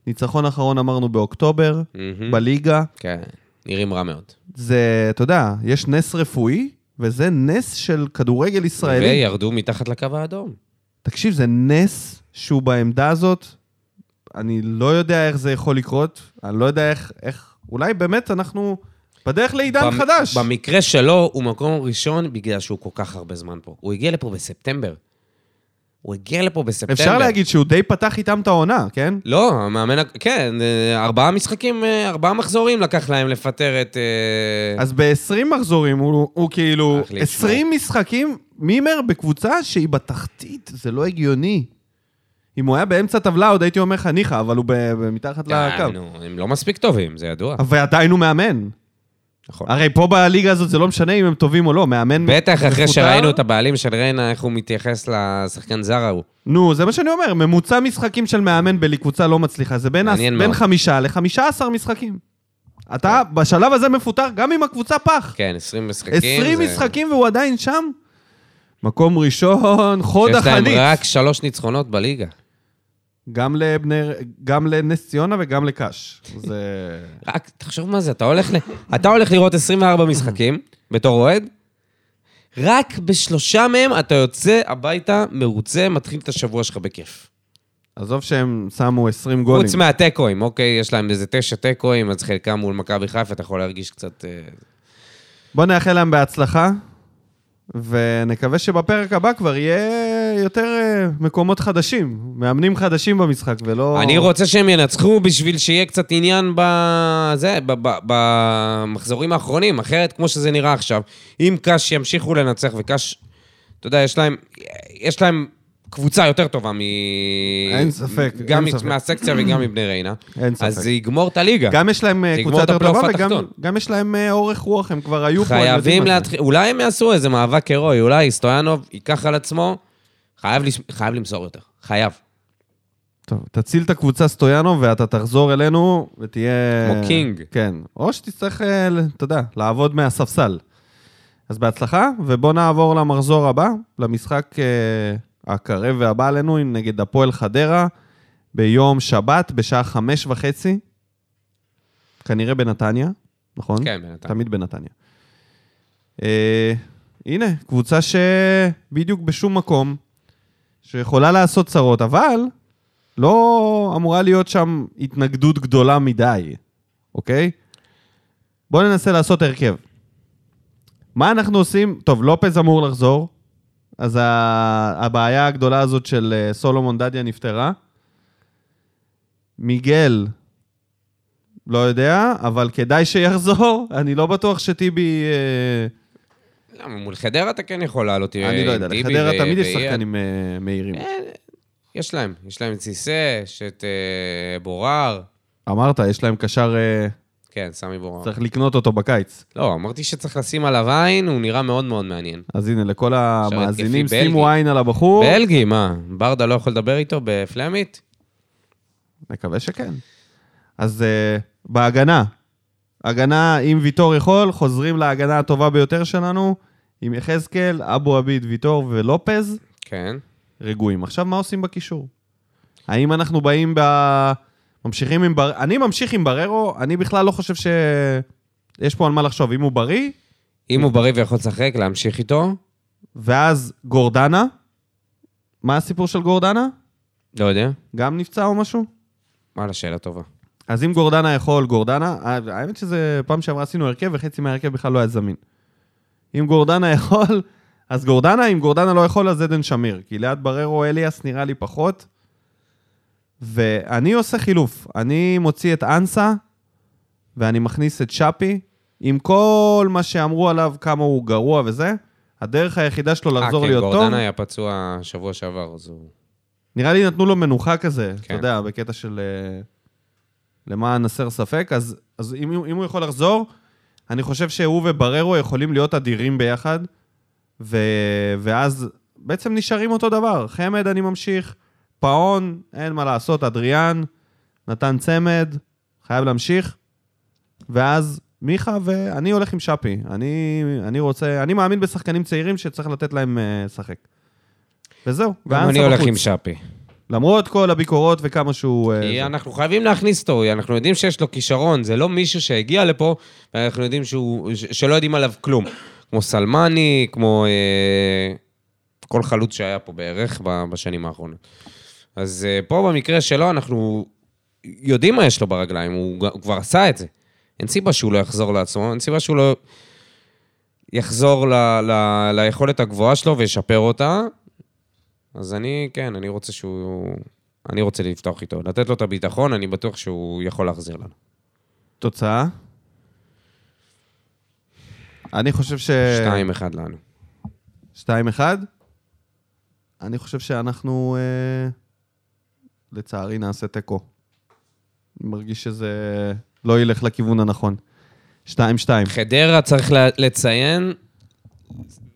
S1: ניצחון אחרון אמרנו באוקטובר,
S2: מהמם.
S1: בליגה.
S2: כן, נראים רע מאוד.
S1: זה, אתה יודע, יש נס רפואי, וזה נס של כדורגל ישראלי.
S2: וירדו מתחת לקו האדום.
S1: תקשיב, זה נס שהוא בעמדה הזאת. אני לא יודע איך זה יכול לקרות, אני לא יודע איך, איך... אולי באמת אנחנו בדרך לעידן
S2: במ-
S1: חדש.
S2: במקרה שלו, הוא מקום ראשון בגלל שהוא כל כך הרבה זמן פה. הוא הגיע לפה בספטמבר. הוא הגיע לפה בספטמבר.
S1: אפשר להגיד שהוא די פתח איתם את העונה, כן?
S2: לא, המאמן... ה- כן, אה, ארבעה משחקים, אה, ארבעה מחזורים לקח להם לפטר את... אה,
S1: אז ב-20 מחזורים הוא, הוא כאילו...
S2: אח לי,
S1: 20 משחקים, מימר בקבוצה שהיא בתחתית, זה לא הגיוני. אם הוא היה באמצע טבלה, עוד הייתי אומר לך ניחא, אבל הוא ב- ב- מתחת
S2: אה,
S1: לקו.
S2: נו, הם לא מספיק טובים, זה ידוע.
S1: ועדיין הוא מאמן.
S2: נכון.
S1: הרי פה בליגה הזאת זה לא משנה אם הם טובים או לא, מאמן...
S2: בטח אחרי
S1: מפוטר?
S2: שראינו את הבעלים של ריינה, איך הוא מתייחס לשחקן זר ההוא.
S1: נו, זה מה שאני אומר, ממוצע משחקים של מאמן בקבוצה לא מצליחה, זה בין, הס...
S2: מעניין
S1: בין
S2: מאוד.
S1: חמישה לחמישה עשר משחקים. אתה בשלב הזה מפוטר גם אם הקבוצה פח.
S2: כן, 20 משחקים.
S1: 20
S2: זה-
S1: משחקים והוא עדיין שם? מקום ראשון, חוד
S2: שיש להם
S1: החנית.
S2: רק שלוש ניצחונות בליגה.
S1: גם, לבני... גם לנס ציונה וגם לקאש. זה...
S2: רק, תחשוב מה זה, אתה הולך, ל... אתה הולך לראות 24 משחקים בתור אוהד, רק בשלושה מהם אתה יוצא הביתה מרוצה, מתחיל את השבוע שלך בכיף.
S1: עזוב שהם שמו 20 גולים.
S2: חוץ מהתיקואים, אוקיי? יש להם איזה תשע תיקואים, אז חלקם מול מכבי חיפה, אתה יכול להרגיש קצת... אה,
S1: בוא נאחל להם בהצלחה, ונקווה שבפרק הבא כבר יהיה יותר אה, מקומות חדשים, מאמנים חדשים במשחק, ולא...
S2: אני רוצה שהם ינצחו בשביל שיהיה קצת עניין בזה, ב- ב- במחזורים האחרונים, אחרת כמו שזה נראה עכשיו, אם קאש ימשיכו לנצח, וקאש, אתה יודע, יש להם, יש להם קבוצה יותר טובה מ...
S1: אין ספק,
S2: גם
S1: אין ספק.
S2: מהסקציה וגם מבני ריינה.
S1: אין ספק.
S2: אז זה יגמור את הליגה.
S1: גם יש להם אה,
S2: תגמור
S1: קבוצה
S2: את
S1: יותר
S2: הפלייאוף
S1: טובה, וגם
S2: התחתון.
S1: גם יש להם אה, אורך רוח, הם כבר היו פה. הם יודעים
S2: חייבים
S1: מה זה.
S2: להתחיל, אולי הם יעשו איזה מאבק הירואי, אולי סטויאנוב ייקח על עצמו, חייב, לש... חייב למסור יותר, חייב.
S1: טוב, תציל את הקבוצה סטויאנו, ואתה תחזור אלינו, ותהיה...
S2: כמו קינג.
S1: כן. או שתצטרך, אה, ל- אתה יודע, לעבוד מהספסל. אז בהצלחה, ובוא נעבור למחזור הבא, למשחק אה, הקרב והבא עלינו, נגד הפועל חדרה, ביום שבת, בשעה חמש וחצי, כנראה בנתניה, נכון?
S2: כן, בנתניה.
S1: תמיד בנתניה. אה, הנה, קבוצה שבדיוק בשום מקום, שיכולה לעשות צרות, אבל לא אמורה להיות שם התנגדות גדולה מדי, אוקיי? בואו ננסה לעשות הרכב. מה אנחנו עושים? טוב, לופז אמור לחזור, אז ה- הבעיה הגדולה הזאת של אה, סולומון דדיה נפתרה. מיגל, לא יודע, אבל כדאי שיחזור. אני לא בטוח שטיבי... אה,
S2: למה, מול חדרה אתה כן יכול לעלות עם
S1: אני לא יודע,
S2: טיבי
S1: לחדרה
S2: ו-
S1: תמיד יש
S2: ואייל.
S1: שחקנים אה, מהירים.
S2: כן. יש להם, יש להם את סיסא, יש את אה, בורר,
S1: אמרת, יש להם קשר, אה,
S2: כן, סמי בורר.
S1: צריך לקנות אותו בקיץ.
S2: לא, אמרתי שצריך לשים עליו עין, הוא נראה מאוד מאוד מעניין.
S1: אז הנה, לכל המאזינים,
S2: התקפי
S1: שימו
S2: בלגי.
S1: עין על הבחור.
S2: בלגי, מה, ברדה לא יכול לדבר איתו בפלמית?
S1: נקווה שכן. אז uh, בהגנה, הגנה, אם ויטור יכול, חוזרים להגנה הטובה ביותר שלנו, עם יחזקאל, אבו עביד, ויטור ולופז,
S2: כן.
S1: רגועים. עכשיו, מה עושים בקישור? האם אנחנו באים ב... ממשיכים עם בר... אני ממשיך עם בררו, אני בכלל לא חושב ש... יש פה על מה לחשוב. אם הוא בריא,
S2: אם הוא בריא ויכול לשחק, להמשיך איתו?
S1: ואז גורדנה. מה הסיפור של גורדנה?
S2: לא יודע.
S1: גם נפצע או משהו?
S2: וואלה, שאלה טובה. אה,
S1: אז אם גורדנה יכול, גורדנה, האמת שזה פעם שעברה עשינו הרכב וחצי מההרכב בכלל לא היה זמין. אם גורדנה יכול, אז גורדנה, אם גורדנה לא יכול, אז עדן שמיר. כי ליד בררו אליאס נראה לי פחות. ואני עושה חילוף. אני מוציא את אנסה, ואני מכניס את שפי, עם כל מה שאמרו עליו, כמה הוא גרוע וזה. הדרך היחידה שלו לחזור
S2: אה,
S1: להיות
S2: כן,
S1: טוב...
S2: גורדנה היה פצוע שבוע שעבר, אז הוא...
S1: נראה לי נתנו לו מנוחה כזה, אתה
S2: כן.
S1: יודע, בקטע של אה, למען הסר ספק, אז, אז אם, הוא- אם הוא יכול לחזור, אני חושב שהוא ובררו יכולים להיות אדירים ביחד, ו, ואז בעצם נשארים אותו דבר. חמד, אני ממשיך, פאון, אין מה לעשות, אדריאן, נתן צמד, חייב להמשיך, ואז מיכה ואני הולך עם שפי. אני, אני רוצה, אני מאמין בשחקנים צעירים שצריך לתת להם אה, לשחק. וזהו,
S2: גם
S1: ואנסה
S2: אני הולך
S1: בחוץ.
S2: עם שפי.
S1: למרות כל הביקורות וכמה שהוא... אה,
S2: כי
S1: זה.
S2: אנחנו חייבים להכניס אותו, אנחנו יודעים שיש לו כישרון, זה לא מישהו שהגיע לפה, ואנחנו יודעים שהוא, ש- שלא יודעים עליו כלום. כמו סלמני, כמו אה, כל חלוץ שהיה פה בערך ב- בשנים האחרונות. אז אה, פה במקרה שלו, אנחנו יודעים מה יש לו ברגליים, הוא, ג- הוא כבר עשה את זה. אין סיבה שהוא לא יחזור לעצמו, אין סיבה שהוא לא יחזור ל, ל, ליכולת הגבוהה שלו וישפר אותה. אז אני, כן, אני רוצה שהוא... אני רוצה לפתוח איתו. לתת לו את הביטחון, אני בטוח שהוא יכול להחזיר לנו.
S1: תוצאה? אני חושב ש...
S2: 2-1 לנו.
S1: שתיים אחד? אני חושב שאנחנו, אה, לצערי, נעשה תיקו. אני מרגיש שזה לא ילך לכיוון הנכון. שתיים שתיים.
S2: חדרה, צריך ל- לציין,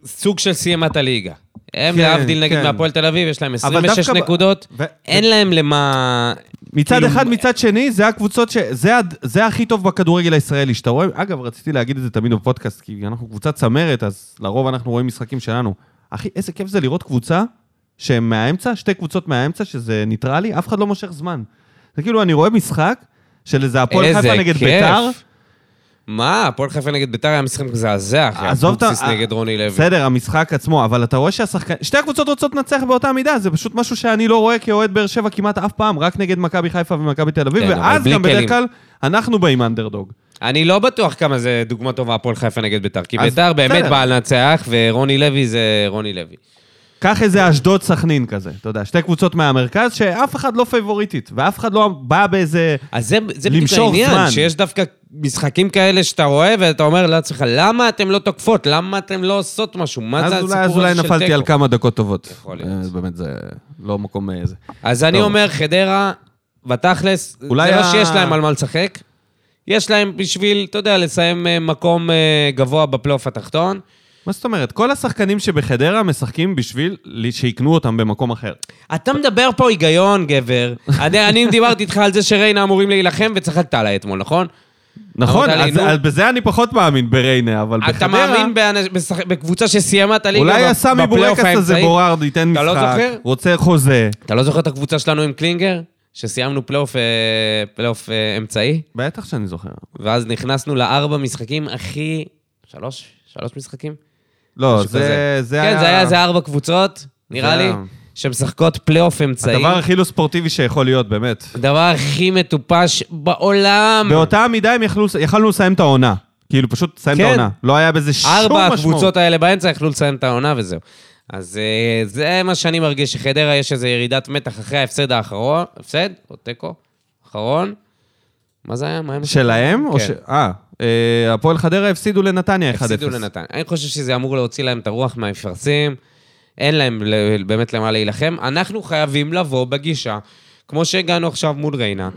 S2: סוג של סיימת הליגה. הם,
S1: כן,
S2: להבדיל נגיד
S1: כן.
S2: מהפועל תל אביב, יש להם
S1: אבל
S2: 26
S1: דווקא ב-
S2: נקודות,
S1: ו-
S2: אין להם למה...
S1: מצד
S2: כאילו-
S1: אחד, מצד שני, זה הקבוצות ש... זה, הד- זה הכי טוב בכדורגל הישראלי, שאתה רואה... אגב, רציתי להגיד את זה תמיד בפודקאסט, כי אנחנו קבוצת צמרת, אז לרוב אנחנו רואים משחקים שלנו. אחי, איזה כיף זה לראות קבוצה שהם מהאמצע, שתי קבוצות מהאמצע, שזה ניטרלי, אף אחד לא מושך זמן. זה כאילו, אני רואה משחק של איזה הפועל
S2: איזה
S1: חיפה נגד
S2: כיף.
S1: ביתר,
S2: מה, הפועל חיפה נגד ביתר היה משחק מזעזע, אחי.
S1: עזוב את ה- אה,
S2: אבוקסיס נגד רוני לוי.
S1: בסדר, המשחק עצמו, אבל אתה רואה שהשחקן... שתי הקבוצות רוצות לנצח באותה מידה, זה פשוט משהו שאני לא רואה כאוהד באר שבע כמעט אף פעם, רק נגד מכבי חיפה ומכבי תל אביב,
S2: כן, אבל
S1: ואז
S2: בלי
S1: גם בדרך
S2: כלים.
S1: כלל אנחנו באים אנדרדוג.
S2: אני לא בטוח כמה זה דוגמה טובה הפועל חיפה נגד ביתר, כי
S1: אז
S2: ביתר באמת
S1: בסדר.
S2: באה לנצח, ורוני לוי זה רוני לוי.
S1: קח איזה אשדוד סכנין כזה, אתה יודע, שתי קבוצות מהמרכז שאף אחד לא פייבוריטית, ואף אחד לא בא באיזה...
S2: אז זה, זה בדיוק
S1: למשוך
S2: העניין,
S1: זמן.
S2: שיש דווקא משחקים כאלה שאתה רואה ואתה אומר לעצמך, למה אתם לא תוקפות? למה אתם לא עושות משהו? מה
S1: אז
S2: זה
S1: אולי,
S2: הסיפור
S1: אז
S2: הזה
S1: אולי
S2: של
S1: נפלתי
S2: תיקו?
S1: על כמה דקות טובות.
S2: יכול להיות.
S1: אה, באמת, זה לא מקום איזה.
S2: אז אני
S1: טוב.
S2: אומר, חדרה, בתכלס, זה
S1: אולי
S2: לא
S1: ה-
S2: שיש להם על מה לשחק. יש להם בשביל, אתה יודע, לסיים אה, מקום אה, גבוה בפלייאוף התחתון.
S1: מה זאת אומרת? כל השחקנים שבחדרה משחקים בשביל לי- שיקנו אותם במקום אחר.
S2: אתה מדבר פה היגיון, גבר. אני, אני דיברתי איתך על זה שריינה אמורים להילחם, וצחקת עליי אתמול, נכון?
S1: נכון,
S2: אמרת לי,
S1: אז,
S2: נו.
S1: אז בזה אני פחות מאמין בריינה, אבל בחדרה...
S2: אתה מאמין באנש... בשח... בקבוצה שסיימה את הליגה
S1: אולי
S2: בפ-
S1: הסמי
S2: בפלייאוף
S1: בורקס הזה
S2: האמצעי?
S1: בורארד ייתן משחק.
S2: אתה לא זוכר?
S1: רוצה חוזה.
S2: אתה לא זוכר את הקבוצה שלנו עם קלינגר? שסיימנו פלייאוף אה, פלייאוף אה, אמצעי,
S1: בטח שאני זוכר.
S2: ואז נכנסנו לארבע משחקים הכי... שלוש? שלוש משחקים?
S1: לא,
S2: משהו כזה.
S1: זה, זה
S2: כן,
S1: היה...
S2: זה היה איזה ארבע קבוצות, נראה לי,
S1: היה.
S2: שמשחקות פלייאוף אמצעי.
S1: הדבר הכי לא ספורטיבי שיכול להיות, באמת.
S2: הדבר הכי מטופש בעולם.
S1: באותה מידה הם יכלו- יכלנו לסיים את העונה. כאילו, פשוט לסיים את
S2: כן.
S1: העונה. לא היה בזה שום משמעות.
S2: ארבע הקבוצות האלה באמצע יכלו לסיים את העונה וזהו. אז אה, זה מה שאני מרגיש, שחדרה יש איזו ירידת מתח אחרי ההפסד האחרון, הפסד או תיקו, אחרון. מה זה היה? מה הם...
S1: שלהם? או
S2: כן.
S1: ש... אה, אה, הפועל חדרה הפסידו לנתניה 1-0.
S2: הפסידו לנתניה. אני חושב שזה אמור להוציא להם את הרוח מהמפרשים, אין להם ל- באמת למה להילחם. אנחנו חייבים לבוא בגישה, כמו שהגענו עכשיו מול ריינה,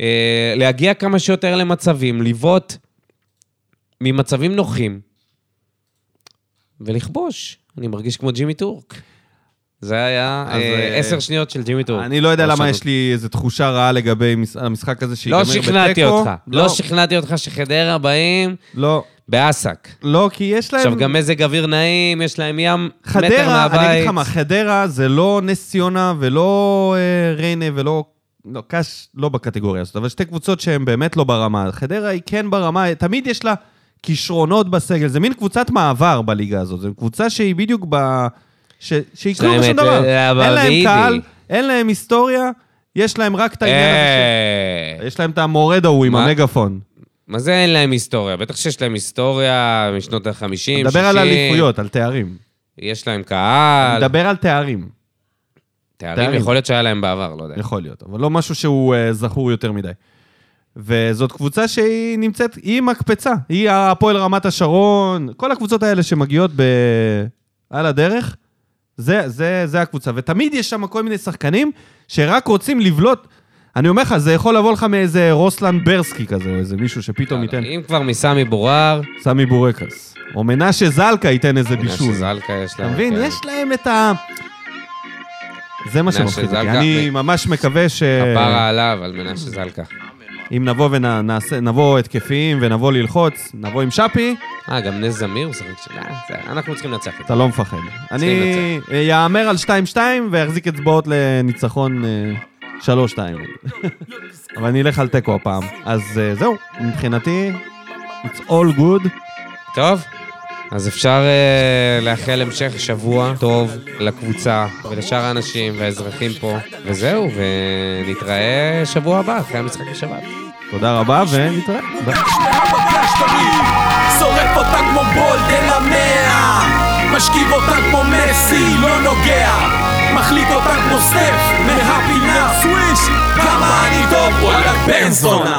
S2: אה, להגיע כמה שיותר למצבים, לבעוט ממצבים נוחים ולכבוש. אני מרגיש כמו ג'ימי טורק. זה היה
S1: אז,
S2: אה,
S1: אה,
S2: עשר שניות של ג'ימי טורק.
S1: אני לא יודע למה
S2: פרשנות.
S1: יש לי איזו תחושה רעה לגבי מס- המשחק הזה שיגמר
S2: לא
S1: בתיקו.
S2: שכנעתי אותך.
S1: לא,
S2: לא שכנעתי אותך שחדרה באים
S1: לא,
S2: באסק.
S1: לא, כי יש להם...
S2: עכשיו, גם מזג אוויר נעים, יש להם ים מטר
S1: חדרה,
S2: מהבית.
S1: אני אגיד לך מה, חדרה זה לא נס ציונה ולא אה, ריינה ולא... לא, קאש לא בקטגוריה הזאת, אבל שתי קבוצות שהן באמת לא ברמה. חדרה היא כן ברמה, תמיד יש לה כישרונות בסגל. זה מין קבוצת מעבר בליגה הזאת. זו קבוצה שהיא בדיוק ב... ש... שהיא
S2: זאת
S1: כלום ושום
S2: האמת,
S1: דבר.
S2: לא, אבל
S1: אין להם
S2: ביבי.
S1: קהל, אין להם היסטוריה, יש להם רק את העניין הזה.
S2: אה,
S1: ש- יש להם את המורד ההוא עם
S2: מה?
S1: המגאפון.
S2: מה זה אין להם היסטוריה? בטח שיש להם היסטוריה משנות ה-50, 60.
S1: נדבר על אליפויות, על תארים.
S2: יש להם קהל.
S1: נדבר על תארים,
S2: תארים
S1: תארים.
S2: יכול להיות שהיה להם בעבר, לא יודע.
S1: יכול להיות, אבל לא משהו שהוא אה, זכור יותר מדי. וזאת קבוצה שהיא נמצאת, היא מקפצה. היא הפועל רמת השרון, כל הקבוצות האלה שמגיעות ב... על הדרך, זה, זה, זה הקבוצה. ותמיד יש שם כל מיני שחקנים שרק רוצים לבלוט. אני אומר לך, זה יכול לבוא לך מאיזה רוסלן ברסקי כזה, או איזה מישהו שפתאום ייתן...
S2: אם כבר מסמי בורר,
S1: סמי בורקס. או מנשה זלקה ייתן איזה בישול.
S2: שזלקה יש להם.
S1: אתה מבין?
S2: כן.
S1: יש להם את ה... זה מה
S2: מנשה
S1: שמפחיד אותי.
S2: זלקה.
S1: אני ממש מקווה ש...
S2: כפרה עליו, על מנשה זלקה.
S1: אם נבוא ונבוא התקפיים ונבוא ללחוץ, נבוא עם שפי,
S2: אה, גם נס זמיר הוא שחק שם. אה, זה- אנחנו צריכים לנצח את זה.
S1: אתה לא מפחד. אני יאמר על 2-2 ואחזיק אצבעות לניצחון אה, 3-2. אבל אני אלך על תיקו הפעם. אז אה, זהו, מבחינתי, it's all good.
S2: טוב, אז אפשר אה, לאחל המשך שבוע טוב לקבוצה ולשאר האנשים והאזרחים פה, וזהו, ונתראה שבוע הבא אחרי המשחק בשבת.
S1: תודה רבה ונתראה. ביי.
S3: הבגש שלי שורף אותה כמו בולדן המאה משכיב אותה כמו מסי, לא נוגע מחליט אותה כמו סטף מהפינה סוויש כמה אני טוב, וואלה בן זונה